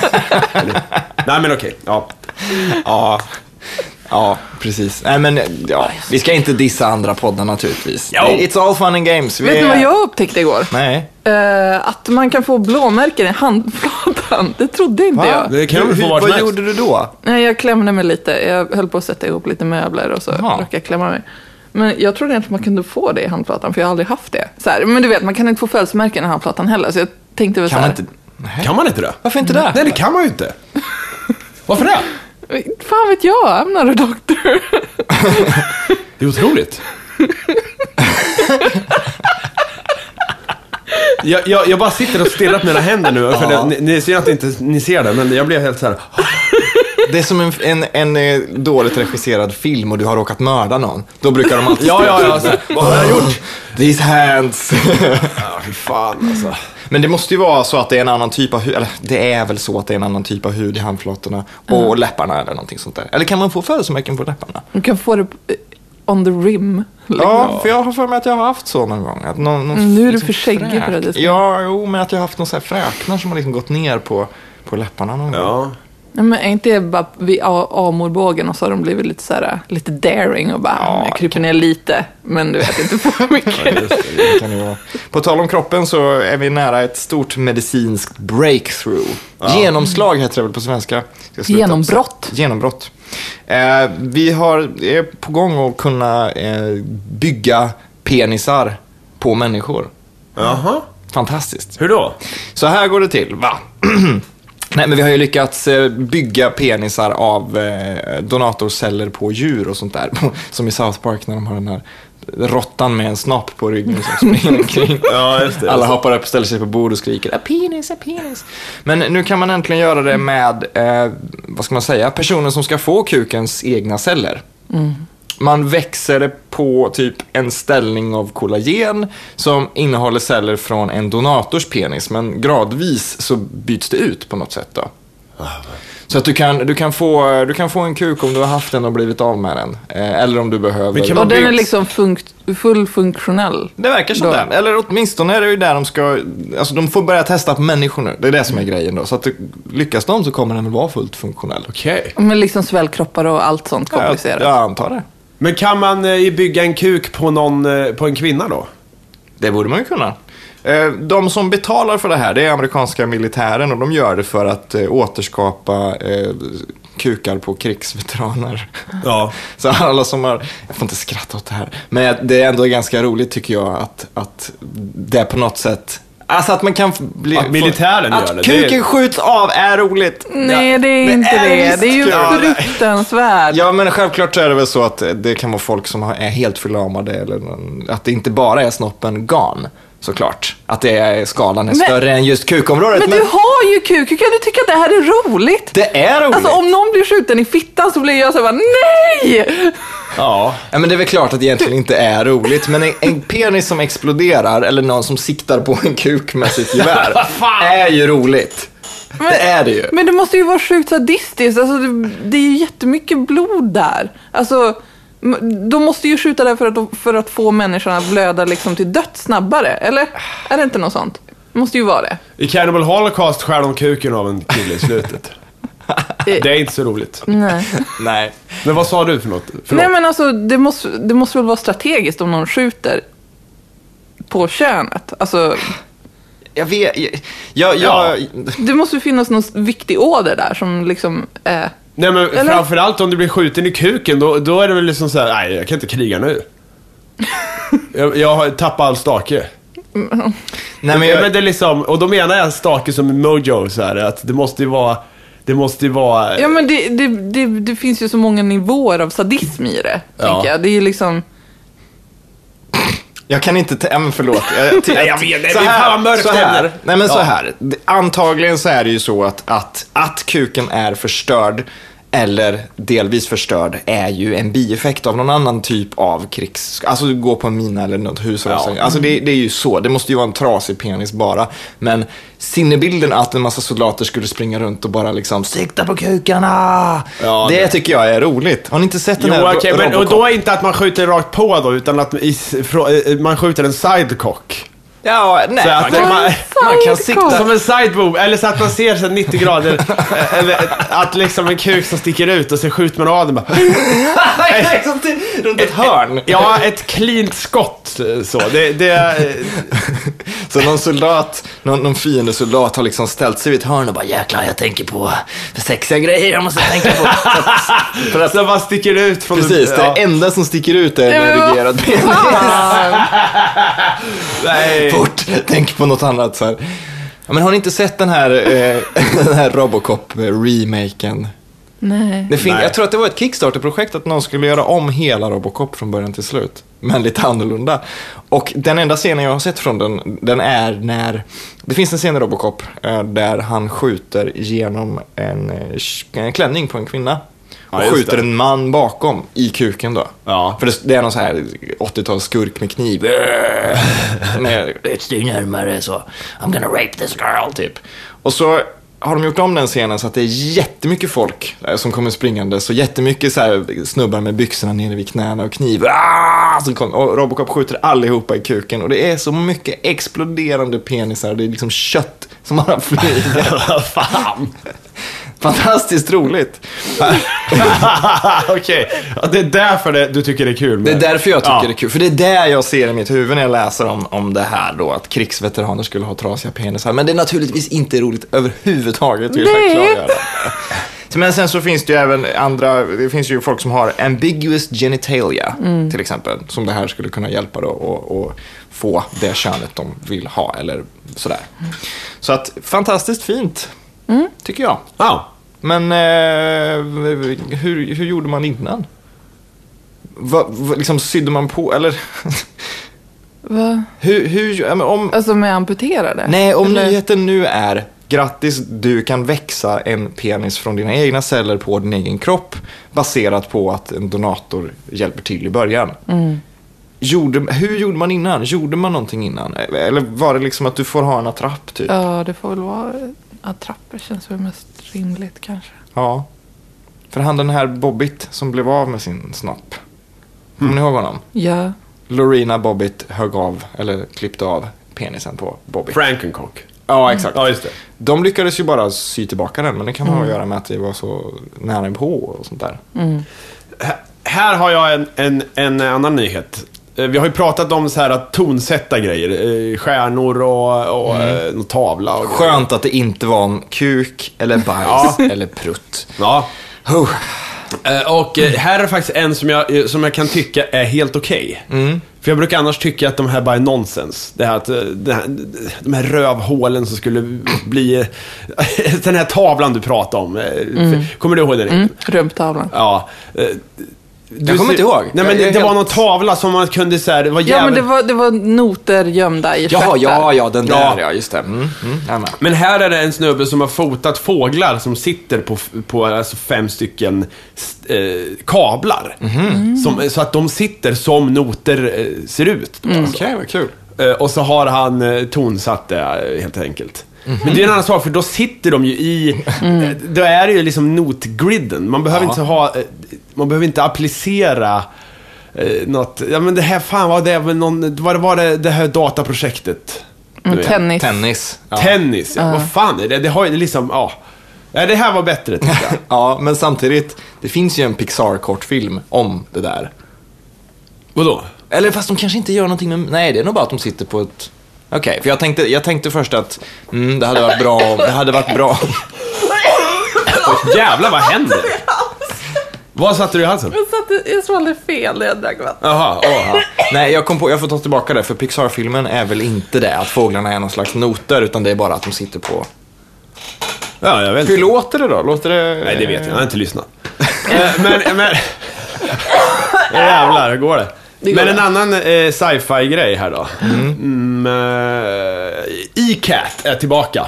A: Eller? Nej men okej, ja.
B: Ja. Ja, precis. Nej, men ja, vi ska inte dissa andra poddar naturligtvis.
A: Jo.
B: It's all fun and games. Vi
C: Vet ni
B: är-
C: vad jag upptäckte igår?
B: Nej.
C: Eh, att man kan få blåmärken i handflatan. Det trodde inte
B: Va?
C: jag.
A: Det kan
B: Hur-
A: väl få
B: hur-
A: vart som
B: Vad
A: helst.
B: gjorde du då?
C: Nej, jag klämde mig lite. Jag höll på att sätta ihop lite möbler och så
B: Jaha.
C: råkade jag klämma mig. Men jag trodde inte att man kunde få det i handflatan, för jag har aldrig haft det. Så här, men du vet, man kan inte få födelsemärken i handflatan heller, så jag tänkte väl
B: Kan
C: så
B: man
C: här,
B: inte... Nej.
A: Kan man inte det?
B: Varför inte det?
A: Mm. Nej, det kan man ju inte. Varför det?
C: Fan vet jag, I'm not a doctor.
A: <laughs> Det är otroligt. Jag, jag, jag bara sitter och stirrar på mina händer nu. För
B: Ja.
A: det, ni, ni ser att inte ni ser det, men jag blev helt så här.
B: Det är som en, en, en eh, dåligt regisserad film och du har råkat mörda någon. Då brukar de alltid
A: Ja, ja, ja,
B: skrika ut
A: så- vad har jag gjort?
B: These hands.
A: Ja, fy fan alltså.
B: Men det måste ju vara så att det är en annan typ av hud, eller det är väl så att det är en annan typ av hud i handflatorna och läpparna eller någonting sånt där. Eller kan man få födelsemärken på läpparna?
C: Du kan få det eh, on the rim. liksom.
B: Ja, för jag har för mig att jag har haft så någon gång. Att någon, någon
C: Mm, nu är du
B: liksom
C: för skäggig för
B: fräk-
C: det, liksom.
B: Ja, jo, men att jag har haft någon sån här fräknar som har liksom gått ner på, på läpparna någon gång.
A: Ja.
C: Nej, Men är inte det bara vid a- amorbågen och så har de blivit lite så här, lite daring och bara, "Mm,
B: Ja,
C: jag kryper ner lite, men du vet inte för mycket.
B: Det kan det vara. På tal om kroppen så är vi nära ett stort medicinskt breakthrough. Genomslag heter det väl på svenska? Ska jag sluta
C: Genombrott.
B: också? Genombrott. Eh, vi har, är på gång att kunna eh, bygga penisar på människor.
A: Jaha.
B: Fantastiskt.
A: Hur då?
B: Så här går det till, va? <clears throat> Nej, men vi har ju lyckats eh, bygga penisar av eh, donatorceller på djur och sånt där. <laughs> Som i South Park när de har den här råttan med en snopp på ryggen som springer omkring.
A: <laughs> Ja, just det.
B: Alla hoppar upp, ställer sig på bord och skriker a penis, a penis. Men nu kan man äntligen göra det med, eh, vad ska man säga, personer som ska få kukens egna celler. Man växer det på typ en ställning av kollagen som innehåller celler från en donators penis, men gradvis så byts det ut på något sätt. då. Så att du kan, du, kan få, du kan få en kuk om du har haft den och blivit av med den. Eh, Eller om du behöver.
A: Men kan
C: Och
A: man
C: den är
A: byggs.
C: liksom funkt- fullfunktionell.
B: Det verkar som
C: Då.
B: det. Eller åtminstone är det ju där de ska... Alltså de får börja testa på människor nu. Det är det som är grejen då. Så att det- lyckas de så kommer den väl vara fullt funktionell.
A: Okej.
C: Men liksom svällkroppar och allt sånt
B: Jag,
C: komplicerat.
B: jag antar det.
A: Men kan man eh, bygga en kuk på, någon, eh, på en kvinna då?
B: Det borde man ju kunna. Eh, De som betalar för det här, det är amerikanska militären och de gör det för att eh, återskapa eh, kukar på krigsveteraner.
A: Ja.
B: <laughs> Så alla som har, jag får inte skratta åt det här, men det är ändå ganska roligt tycker jag att, att det på något sätt, alltså att man kan bli...
A: Att militären
B: att
A: gör det, det är-
B: kuken skjuts av är roligt.
C: Nej, det är inte
B: är
C: det.
B: visst
C: Det är ju
B: kul. Ja, nej.
C: fruktansvärt.
B: Ja, men självklart så är det väl så att det kan vara folk som har- är helt förlamade eller någon- att det inte bara är snoppen gan såklart. Att det är, skalan är
C: Men-
B: större än just kukområdet.
C: Men du har ju kuk, hur kan du tycka att det här är roligt?
B: det är roligt!
C: Alltså om någon blir skjuten i fittan så blir jag så här bara, nej!
A: Ja.
B: Ja, men det är väl klart att det egentligen inte är roligt, men en, en penis som exploderar eller någon som siktar på en kuk med sitt
C: <laughs>
B: gevär är ju roligt. det är det ju.
C: Men det måste ju vara sjukt sadistiskt, alltså det, det är ju jättemycket blod där. Alltså, m- de måste ju skjuta där för att, för att få människorna att blöda liksom till döds snabbare, eller? Är det inte något sånt? Det måste ju vara det.
A: I Cannibal Holocaust skär de kuken av en kille i
C: <laughs>
A: slutet. Det är inte så roligt.
C: Nej.
B: Nej.
A: Men vad sa du för något? Förlåt.
C: Nej men alltså det måste, det måste väl vara strategiskt om någon skjuter på könet. Alltså,
B: Jag vet, jag, jag, jag,
C: det måste ju finnas någon viktig åder där som liksom är...
A: Nej men
C: Eller?
A: framförallt om du blir skjuten i kuken, då, då är det väl liksom så här: nej jag kan inte kriga nu. jag, jag har tappat all stake.
B: nej, men
A: men,
B: jag,
A: det är liksom, och då menar jag stake som mojo så här, att det måste ju vara, det måste ju vara...
C: Ja men det, det, det, det finns ju så många nivåer av sadism i det,
A: Ja.
C: tänker jag. Det är ju liksom...
B: jag kan inte, ta- ja, men förlåt.
A: <laughs>
B: Jag, t-
A: Nej, jag vet, nej,
B: så
A: men fan
B: här,
A: vad mörkt
B: så
A: det är.
B: här, nej men så
A: Ja.
B: här. Det- Antagligen så är det ju så att, att, att kuken är förstörd eller delvis förstörd är ju en bieffekt av någon annan typ av krigs... Alltså du går på en mina eller något hus. Ja. Alltså det, det är ju så. Det måste ju vara en trasig penis bara. Men sinnebilden att en massa soldater skulle springa runt och bara liksom sikta på kukarna.
A: Ja,
B: det,
A: det-
B: tycker jag är roligt. Har ni inte sett den
A: Jo,
B: här ro-
A: okej, men, och
B: Robocop?
A: då är inte att man skjuter rakt på då, utan att i, frå- eh, man skjuter en sidecock.
B: Ja, nej.
A: Så att
B: man, kan-
A: man-
B: man kan
C: Sidecock.
B: sikta...
A: Som en sideboob, eller så att man ser så här 90 grader, eh, eller att liksom en kuk som sticker ut och så skjuter man av den bara.
B: Runt ett hörn.
A: Ja, ett cleant skott eh, så. Det, det, eh,
B: Så någon soldat, någon, någon fiendesoldat har liksom ställt sig vid ett hörn och bara jäklar jag tänker på sexiga grejer jag måste tänka <laughs> på.
A: för att, så bara Alltså, sticker ut från...
B: Precis,
A: ja,
B: det enda som sticker ut är
C: Nej,
B: en
C: men vad
B: erigerad penis.
C: fan!
A: nej.
B: Fort, tänk på något annat så här. Ja, men har ni inte sett den här, eh, <laughs> den här Robocop-remaken?
C: Nej.
B: Det fin-
A: Nej.
B: jag tror att det var ett Kickstarter-projekt att någon skulle göra om hela Robocop från början till slut. Men lite annorlunda. Och den enda scenen jag har sett från den, den är när... Det finns en scen i Robocop eh, där han skjuter genom en, eh, sh- en klänning på en kvinna.
A: Ja,
B: Och
A: just
B: skjuter
A: det.
B: en man bakom i kuken då.
A: Ja.
B: För det, det är någon så här 80-talsskurk med kniv. <laughs> med ett steg närmare så. I'm gonna rape this girl, typ. Och så har de gjort om den scenen så att det är jättemycket folk eh, som kommer springande. Så jättemycket så här snubbar med byxorna nere vid knäna och kniv. Ah! Så kom, och Robocop skjuter allihopa i kuken. Och det är så mycket exploderande penisar. Det är liksom kött som bara flyger. <laughs>
A: Fan.
B: Fantastiskt roligt.
A: Okej, Ja, det är därför det, du tycker det är kul.
B: Det
A: Med.
B: är därför jag tycker
A: Ja.
B: det är kul. För det är där jag ser i mitt huvud när jag läser om, om det här då, att krigsveteraner skulle ha trasiga penisar. Men det är naturligtvis inte roligt överhuvudtaget, vill jag
C: Nej.
B: klargöra. <laughs> Men sen så finns det ju även andra, det finns ju folk som har ambiguous genitalia, till exempel, som det här skulle kunna hjälpa då och, och få det könet de vill ha, eller sådär. Så att, fantastiskt fint, tycker jag.
A: Ja.
B: Men eh, hur, hur gjorde man innan? Va, va, liksom sydde man på, eller? <laughs>
C: Va?
B: hur, hur, ja, men om,
C: Alltså med amputerade?
B: nej, om
C: Eller-
B: nyheten nu är grattis, du kan växa en penis från dina egna celler på din egen kropp baserat på att en donator hjälper till i början. Gjorde, hur gjorde man innan? Gjorde man någonting innan? Eller var det liksom att du får ha en attrapp typ?
C: Ja, det får väl vara attrapper känns väl mest rimligt kanske.
B: Ja. För han den här Bobbit som blev av med sin snopp. Kommer ni ihåg honom?
C: Ja.
B: Lorena Bobbit högg av, eller klippte av penisen på Bobbit.
A: Frankencock.
B: Ja, exakt.
A: Ja, just det.
B: De lyckades ju bara sy tillbaka den, men det kan ha att göra med att det var så nära på och sånt där.
A: Här- Här har jag en, en, en annan nyhet. Eh, Vi har ju pratat om så här att tonsätta grejer. eh, Stjärnor och, och
B: Mm.
A: eh, någon tavla. Och grejer.
B: Skönt att det inte var om kuk, eller bajs, <laughs> eller prutt.
A: Ja.
B: Huh.
A: Eh, Och eh, här är faktiskt en som jag, eh, som jag kan tycka är helt okej.
D: Mm.
A: För jag brukar annars tycka att de här bara är nonsens. Det här att eh, det här, de här rövhålen som skulle bli... <laughs> Den Eh, här tavlan du pratade om. eh, Kommer du ihåg den?
C: Mm. Rumptavlan.
A: Ja. eh, Du
D: kommer
A: ser-
D: inte ihåg.
A: Nej,
D: Jag-
A: men
D: jag
A: det,
D: är
A: det
D: helt-
A: var någon tavla som man kunde så här, det var jävligt...
C: Ja, men det var, det var noter gömda i
D: Jaha,
C: stjärtar.
D: ja, ja, den där
A: Ja.
D: ja, just det. Mm, mm, jag med.
A: Men här är det en snubbe som har fotat fåglar som sitter på, på alltså fem stycken s- eh, kablar. Som, så att de sitter som noter eh, ser ut.
B: Mm.
A: då, alltså.
D: Okej, vad kul.
A: Eh, och så har han eh, tonsatt det eh, helt enkelt. Men det är en annan sak, för då sitter de ju i... eh, Då är det ju liksom notgriden. Man behöver inte ha... eh, Man behöver inte applicera eh, något... Ja men det här, fan vad det var någon... Vad var det, det här dataprojektet? Du
C: Mm,
A: vet.
C: tennis.
B: Tennis. Ja.
A: Tennis, ja. Vad fan är det? Det har ju liksom, ja. Ja, det här var bättre tycker jag.
B: ja, men samtidigt, det finns ju en Pixar-kortfilm om det där.
A: Vadå?
B: Eller fast de kanske inte gör någonting med... Nej, det är nog bara att de sitter på ett... Okej, för jag tänkte, jag tänkte först att mm, det hade varit bra om- Det hade varit bra <laughs> om-
A: Oj, jävlar vad händer? Vad satte du i halsen?
C: Jag, satte, jag svalde fel när jag drack vatten.
A: Jaha, åh.
B: Nej, jag, kom på, jag får ta tillbaka det, för Pixar-filmen är väl inte det, att fåglarna är någon slags noter, utan det är bara att de sitter på...
A: Ja, jag vet
B: Hur
A: inte.
B: låter det då? Låter det...
A: Nej, det vet jag. Jag har inte lyssnat. Eh, men, men... <laughs> Jävlar, hur går det?
C: Det går
A: men
C: bra.
A: en annan eh, sci-fi grej här då. Mm, eh, E-Cat är tillbaka.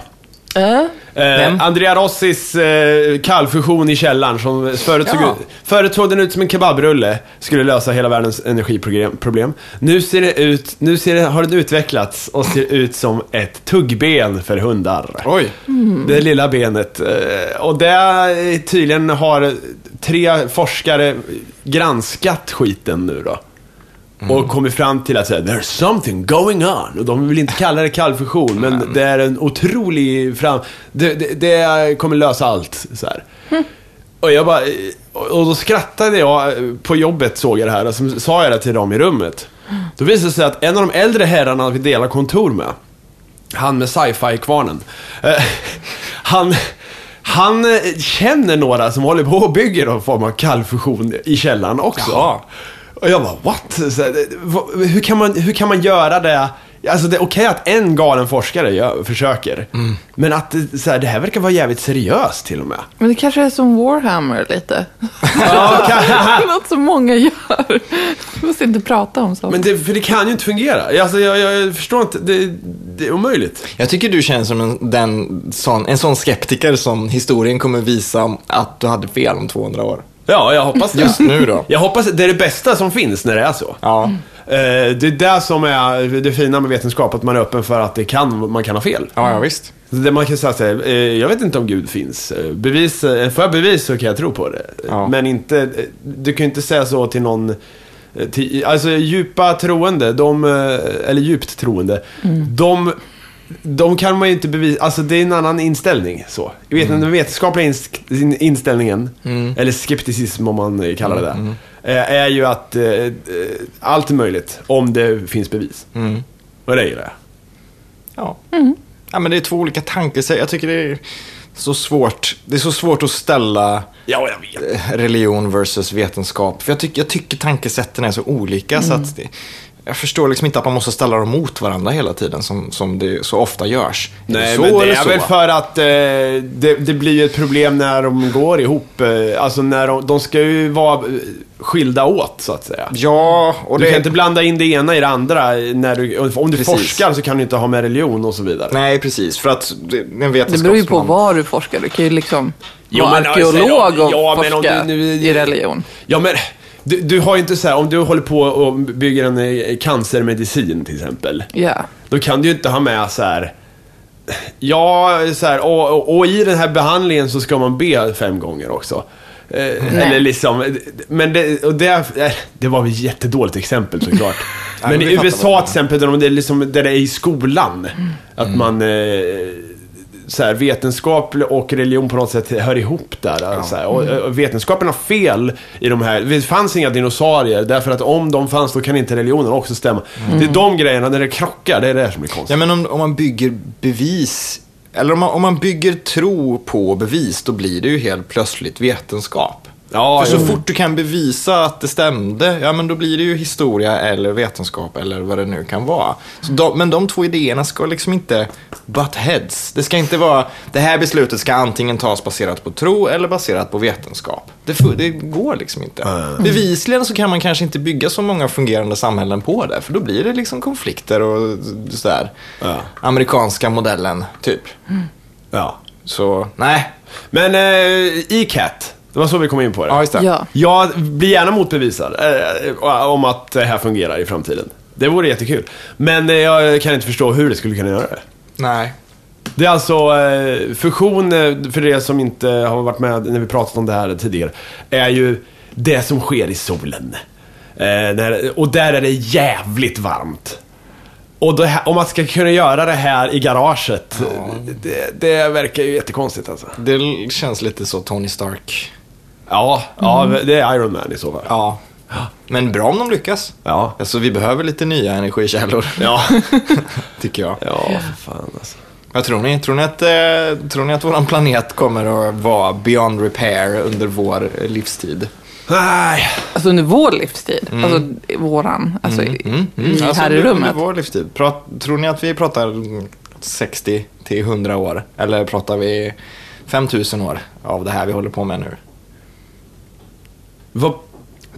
C: Äh?
A: Eh, Andrea Rossis eh, kallfusion i källaren som förut såg,
B: Ja.
A: ut, förut såg den ut som en kebabrulle, skulle lösa hela världens energiproblem. problem. Nu, ser det ut, nu ser det, har den utvecklats och ser ut som ett tuggben för hundar.
B: Oj.
A: Det lilla benet. Eh, och det eh, tydligen har tre forskare granskat skiten nu då. Och kommit fram till att säga, there's something going on. Och de vill inte kalla det kallfusion, men det är en otrolig fram... Det, det, det kommer lösa allt. Så här. Och jag bara... eh, Och då skrattade jag eh, på jobbet, såg jag det här, och så sa jag det till dem i rummet. Då visade det sig att en av de äldre herrarna vi delar kontor med, han med sci-fi-kvarnen, eh, han... Han eh, känner några som håller på och bygger någon form av kallfusion i källaren också.
B: Jaha.
A: Och jag bara what? Så här, det- vad- hur, kan man, hur kan man göra det? Alltså det är okej att en galen forskare gör, försöker. Men att det- så här, det här verkar vara jävligt seriöst till och med.
C: Men det kanske är som Warhammer lite. <laughs>
A: Ja, kan-
C: Det är något som många gör. Vi måste inte prata om sånt.
A: Men det, för det kan ju inte fungera. Alltså, jag, jag, jag förstår inte. Det, det är omöjligt.
B: Jag tycker du känns som en, den, sån, en sån skeptiker som historien kommer visa att du hade fel om 200 år.
A: Ja, jag hoppas det.
B: Just nu då?
A: Jag hoppas det är det bästa som finns när det är så.
B: Ja.
A: Eh, Det är det som är det fina med vetenskap, att man är öppen för att det kan, man kan ha fel.
B: Ja, ja visst.
A: Så det man kan säga så här, eh, jag vet inte om Gud finns. Eh, Bevis, eh, får jag bevis så kan jag tro på det. Eh,
B: Ja.
A: Men inte, eh, du kan ju inte säga så till någon, eh, till, alltså djupa troende, de, eh, eller djupt troende, de, de kan man ju inte bevisa, alltså det är en annan inställning så. Jag vet Den vetenskapliga ins- in, inställningen, eller skepticism om man eh, kallar det det, eh, är ju att eh, eh, allt är möjligt om det finns bevis. Och det gillar jag.
B: Ja.
C: Mm.
B: ja, men det är två olika tankesätt. Jag tycker det är så svårt. Det är så svårt att ställa
A: Ja, jag vet.
B: eh, religion versus vetenskap. För jag, tyck, jag tycker tankesätten är så olika. Så
C: Mm.
B: att det, jag förstår liksom inte att man måste ställa dem mot varandra hela tiden som, som det så ofta görs. Är
A: Nej,
B: så
A: men det
B: eller
A: är
B: så?
A: väl för att eh, det, det blir ju ett problem när de går ihop. Eh, alltså när de, de ska ju vara eh, skilda åt, så att säga.
B: Ja, och
A: Du
B: det...
A: kan inte blanda in det ena i det andra. När du, om du
B: Precis.
A: forskar så kan du inte ha med religion och så vidare.
B: Nej, precis. För att det- en
C: Det
B: vetenskapsman...
C: beror ju på vad du forskar. Du kan ju liksom
A: Jo,
C: vara
A: men alltså,
C: arkeolog och
A: ja, men om
C: forska
A: du nu-
C: i religion.
A: Ja, men du, du har ju inte så här, om du håller på och bygger en eh, cancermedicin till exempel.
C: Ja.
A: Då kan du ju inte ha med så här. Ja, så här, och, och, och i den här behandlingen så ska man be fem gånger också. Eh, eller liksom, men det, och det, eh, det var ett jättedåligt exempel
B: <laughs>
A: såklart. men
B: men vi
A: i
B: fattar Mm. vad du menar.
A: USA till exempel, där, de, det är liksom, där det är i skolan, att man eh, så här, vetenskap och religion på något sätt hör ihop där. Så här, och,
B: Mm.
A: och vetenskapen har fel i de här. Det fanns inga dinosaurier, därför att om de fanns då kan inte religionen också stämma.
B: Mm.
A: Det är de grejerna, när det krockar, det är det som blir konstigt.
B: Ja, men om, om man bygger bevis, eller om man, om man bygger tro på bevis, då blir det ju helt plötsligt vetenskap.
A: Ja,
B: För så
A: jo.
B: fort du kan bevisa att det stämde, ja men då blir det ju historia eller vetenskap eller vad det nu kan vara. Så de, men de två idéerna ska liksom inte butt heads. Det ska inte vara, det här beslutet ska antingen tas baserat på tro eller baserat på vetenskap. Det, fu- det går liksom inte. Bevisligen så kan man kanske inte bygga så många fungerande samhällen på det, för då blir det liksom konflikter och sådär.
A: Ja.
B: Amerikanska modellen, typ.
A: Ja.
B: Så, nej.
A: Men eh, E-Cat, det var så vi kom in på det.
B: Ja, just det.
C: Ja.
A: Jag blir gärna motbevisad eh, om att det här fungerar i framtiden. Det vore jättekul. Men eh, jag kan inte förstå hur det skulle kunna göra det.
B: Nej.
A: Det är alltså eh, fusion, eh, för det som inte har varit med när vi pratat om det här tidigare, är ju det som sker i solen. Eh, när, och där är det jävligt varmt. Och det här, om man ska kunna göra det här i garaget, det, det verkar ju jättekonstigt alltså.
B: Det l- känns lite så Tony Stark.
A: Ja, ja, det är Iron Man i så fall.
B: Ja. Men bra om de lyckas.
A: Ja.
B: Alltså vi behöver lite nya energikällor.
A: Ja,
B: <laughs> Tycker jag.
A: ja för fan alltså.
B: Vad tror ni? Tror ni att, eh, tror ni att våran planet kommer att vara beyond repair under vår eh, livstid?
A: Nej,
C: Alltså under vår livstid.
B: Mm.
C: Alltså våran. Alltså i- i,
B: Alltså,
C: här i
B: under-
C: rummet.
B: Under vår livstid. Prat, tror ni att vi pratar 60 till 100 år? Eller pratar vi 5000 år av det här vi håller på med nu?
A: vad...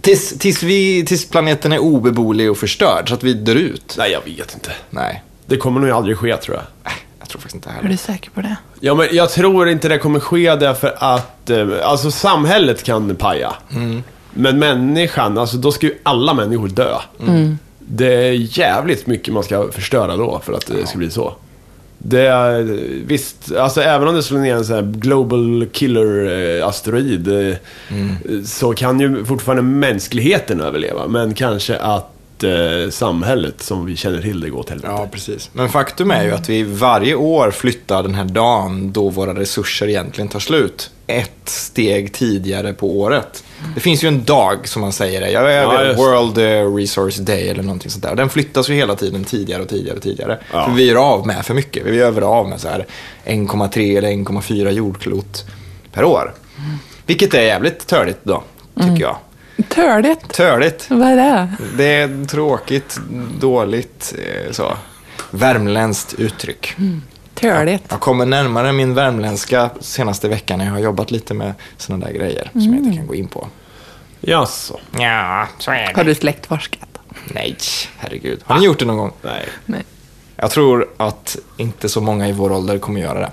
B: Tills, tills, vi, tills planeten är obeboelig och förstörd så att vi dör ut?
A: Nej, jag vet inte.
B: Nej,
A: Det kommer nog aldrig ske tror jag.
B: Äh, jag tror faktiskt inte det
C: Är
B: heller.
C: du säker på det?
A: Ja, men jag tror inte det kommer ske därför att, eh, alltså samhället kan paja. Men människan, alltså då ska ju alla människor dö. Det är jävligt mycket man ska förstöra då för att det ska bli så. Det är, visst, alltså även om det slår ner en sån här global killer-asteroid eh, så kan ju fortfarande mänskligheten överleva. Men kanske att eh, samhället som vi känner till det går åt helvete.
B: Ja, precis. Men faktum är ju att vi varje år flyttar den här dagen då våra resurser egentligen tar slut ett steg tidigare på året. Det finns ju en dag som man säger det. Jag, jag
A: Ja,
B: vet,
A: just det.
B: World eh, Resource Day eller någonting sånt där. Den flyttas ju hela tiden tidigare och tidigare och tidigare.
A: Ja.
B: För vi gör av med för mycket. Vi gör av med så här 1,3 eller 1,4 jordklot per år.
A: Mm.
B: Vilket är jävligt törligt då, tycker jag.
C: Törligt.
B: Törligt.
C: Vad är det?
B: Det är tråkigt, dåligt, eh, så. Värmländskt uttryck.
C: Törligt.
B: Jag kommer närmare min värmländska senaste veckan när jag har jobbat lite med sådana där grejer som jag inte kan gå in på.
A: Jaså?
D: Ja, så är
C: Har
D: det.
C: du släktforskat?
B: Nej, herregud. Har ni gjort det någon gång?
A: Nej.
C: Nej.
B: Jag tror att inte så många i vår ålder kommer göra det.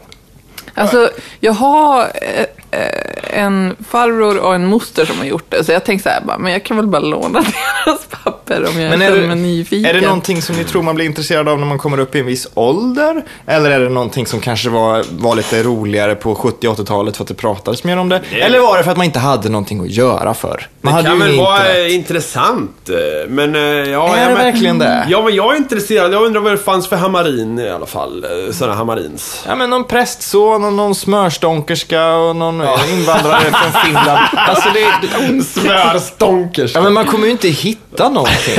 C: Alltså, jag har eh, eh, en farbror och en moster som har gjort det, så jag tänkte så här, bara, men jag kan väl bara låna <laughs> deras papper om jag
B: Men är
C: känner mig
B: det,
C: nyfiken.
B: är det någonting som ni tror man blir intresserad av när man kommer upp i en viss ålder? Eller är det någonting som kanske var, var lite roligare på 70-80-talet för att det pratades mer om det? Eller var det för att man inte hade någonting att göra för? Man hade
A: Det kan
B: ju
A: väl
B: internet.
A: vara eh, intressant, eh, men... eh, Ja,
B: Är
A: ja,
B: det
A: men,
B: verkligen det?
A: Ja, men jag är intresserad. Jag undrar vad det fanns för hamarin i alla fall. eh, Sådana hamarins.
B: Ja men någon prästson och någon smörstonkerska och någon invandrare
A: <laughs>
B: från Finland. Alltså det, det,
A: Smörstonkers.
B: ja men man kommer ju inte hitta
A: <laughs>
B: någonting.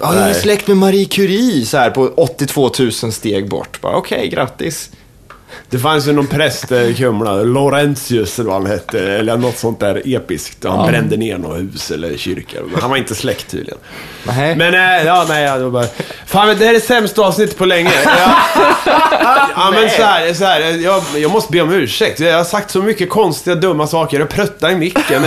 B: Ja, jag är släkt med Marie Curie så här på 82 000 steg bort. Bara, Okej, grattis.
A: Det fanns ju någon präst eh, i Kumla, Laurentius eller vad han hette, eller något sånt där episkt. Han brände ner något hus eller kyrka. Men han var inte släkt tydligen.
B: Nej.
A: Men, eh, ja, nej, jag var bara... Fan, men det här är sämsta avsnittet på <laughs> länge. Ja, ja men så här, så här jag, jag måste be om ursäkt. Jag har sagt så mycket konstiga, dumma saker. Jag pruttar i <laughs> micken.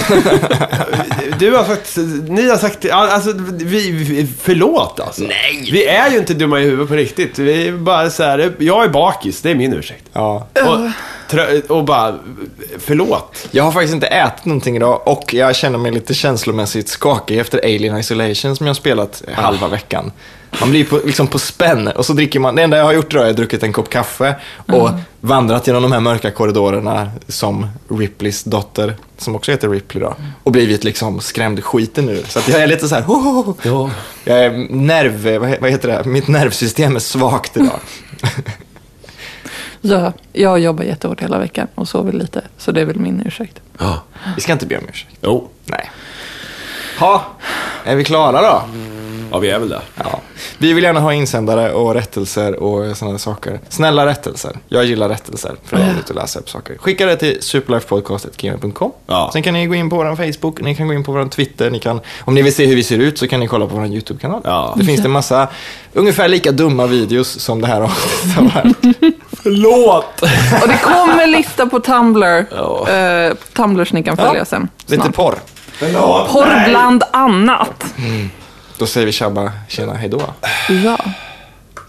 A: Du har sagt, ni har sagt, ja, alltså, vi, vi, förlåt alltså. Nej. Vi är ju inte dumma i huvudet på riktigt. Vi är bara så här, jag är bakis, det är min ursäkt.
B: Ja.
A: Och, trö- och bara, förlåt.
B: Jag har faktiskt inte ätit någonting idag och jag känner mig lite känslomässigt skakig efter Alien Isolation som jag spelat halva veckan. Man blir på, liksom på spänn och så dricker man, det enda jag har gjort idag är att jag har druckit en kopp kaffe och vandrat genom de här mörka korridorerna som Ripleys dotter, som också heter Ripley då, och blivit liksom skrämd skiten nu. Så att jag är lite så här, ho, ho, ho.
A: Ja.
B: Jag är nerv, vad he- vad heter det, mitt nervsystem är svagt idag.
C: Ja, jag jobbar jättehårt hela veckan och sover lite, så det är väl min ursäkt.
A: Ja.
B: Vi ska inte be om ursäkt.
A: Jo,
B: Nej. Ha, är vi klara då?
A: ja vi är väl det.
B: Ja. Vi vill gärna ha insändare och rättelser och sådana saker. Snälla rättelser. Jag gillar rättelser, för det är roligt att läsa upp saker. Skicka det till superlifepodcast.gmail.com.
E: Ja.
B: Sen kan ni gå in på vår Facebook, ni kan gå in på vår Twitter, ni kan, om ni vill se hur vi ser ut så kan ni kolla på vår YouTube-kanal.
E: Ja.
B: Det finns det en massa ungefär lika dumma videos som det här avsnittet har varit.
E: <laughs>
B: Förlåt!
C: Och det kommer lista på Tumblr.
B: Ja.
C: Eh, på Tumblr som ni kan följa
B: Ja.
C: sen.
B: Lite
C: snart.
B: porr.
C: Porr bland annat.
B: Då säger vi tjabba, tjena, hejdå.
C: Ja,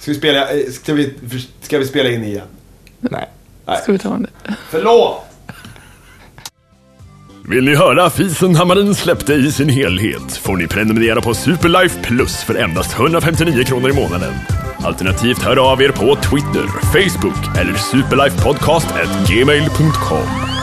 E: Ska vi spela, eh, ska vi, ska vi spela in igen?
B: Nej.
C: ska vi ta om det.
E: Förlåt!
A: Vill ni höra Fisenhammaren släppte i sin helhet får ni prenumerera på Superlife Plus för endast 159 kronor i månaden. Alternativt hör av er på Twitter, Facebook eller superlifepodcast@gmail.com.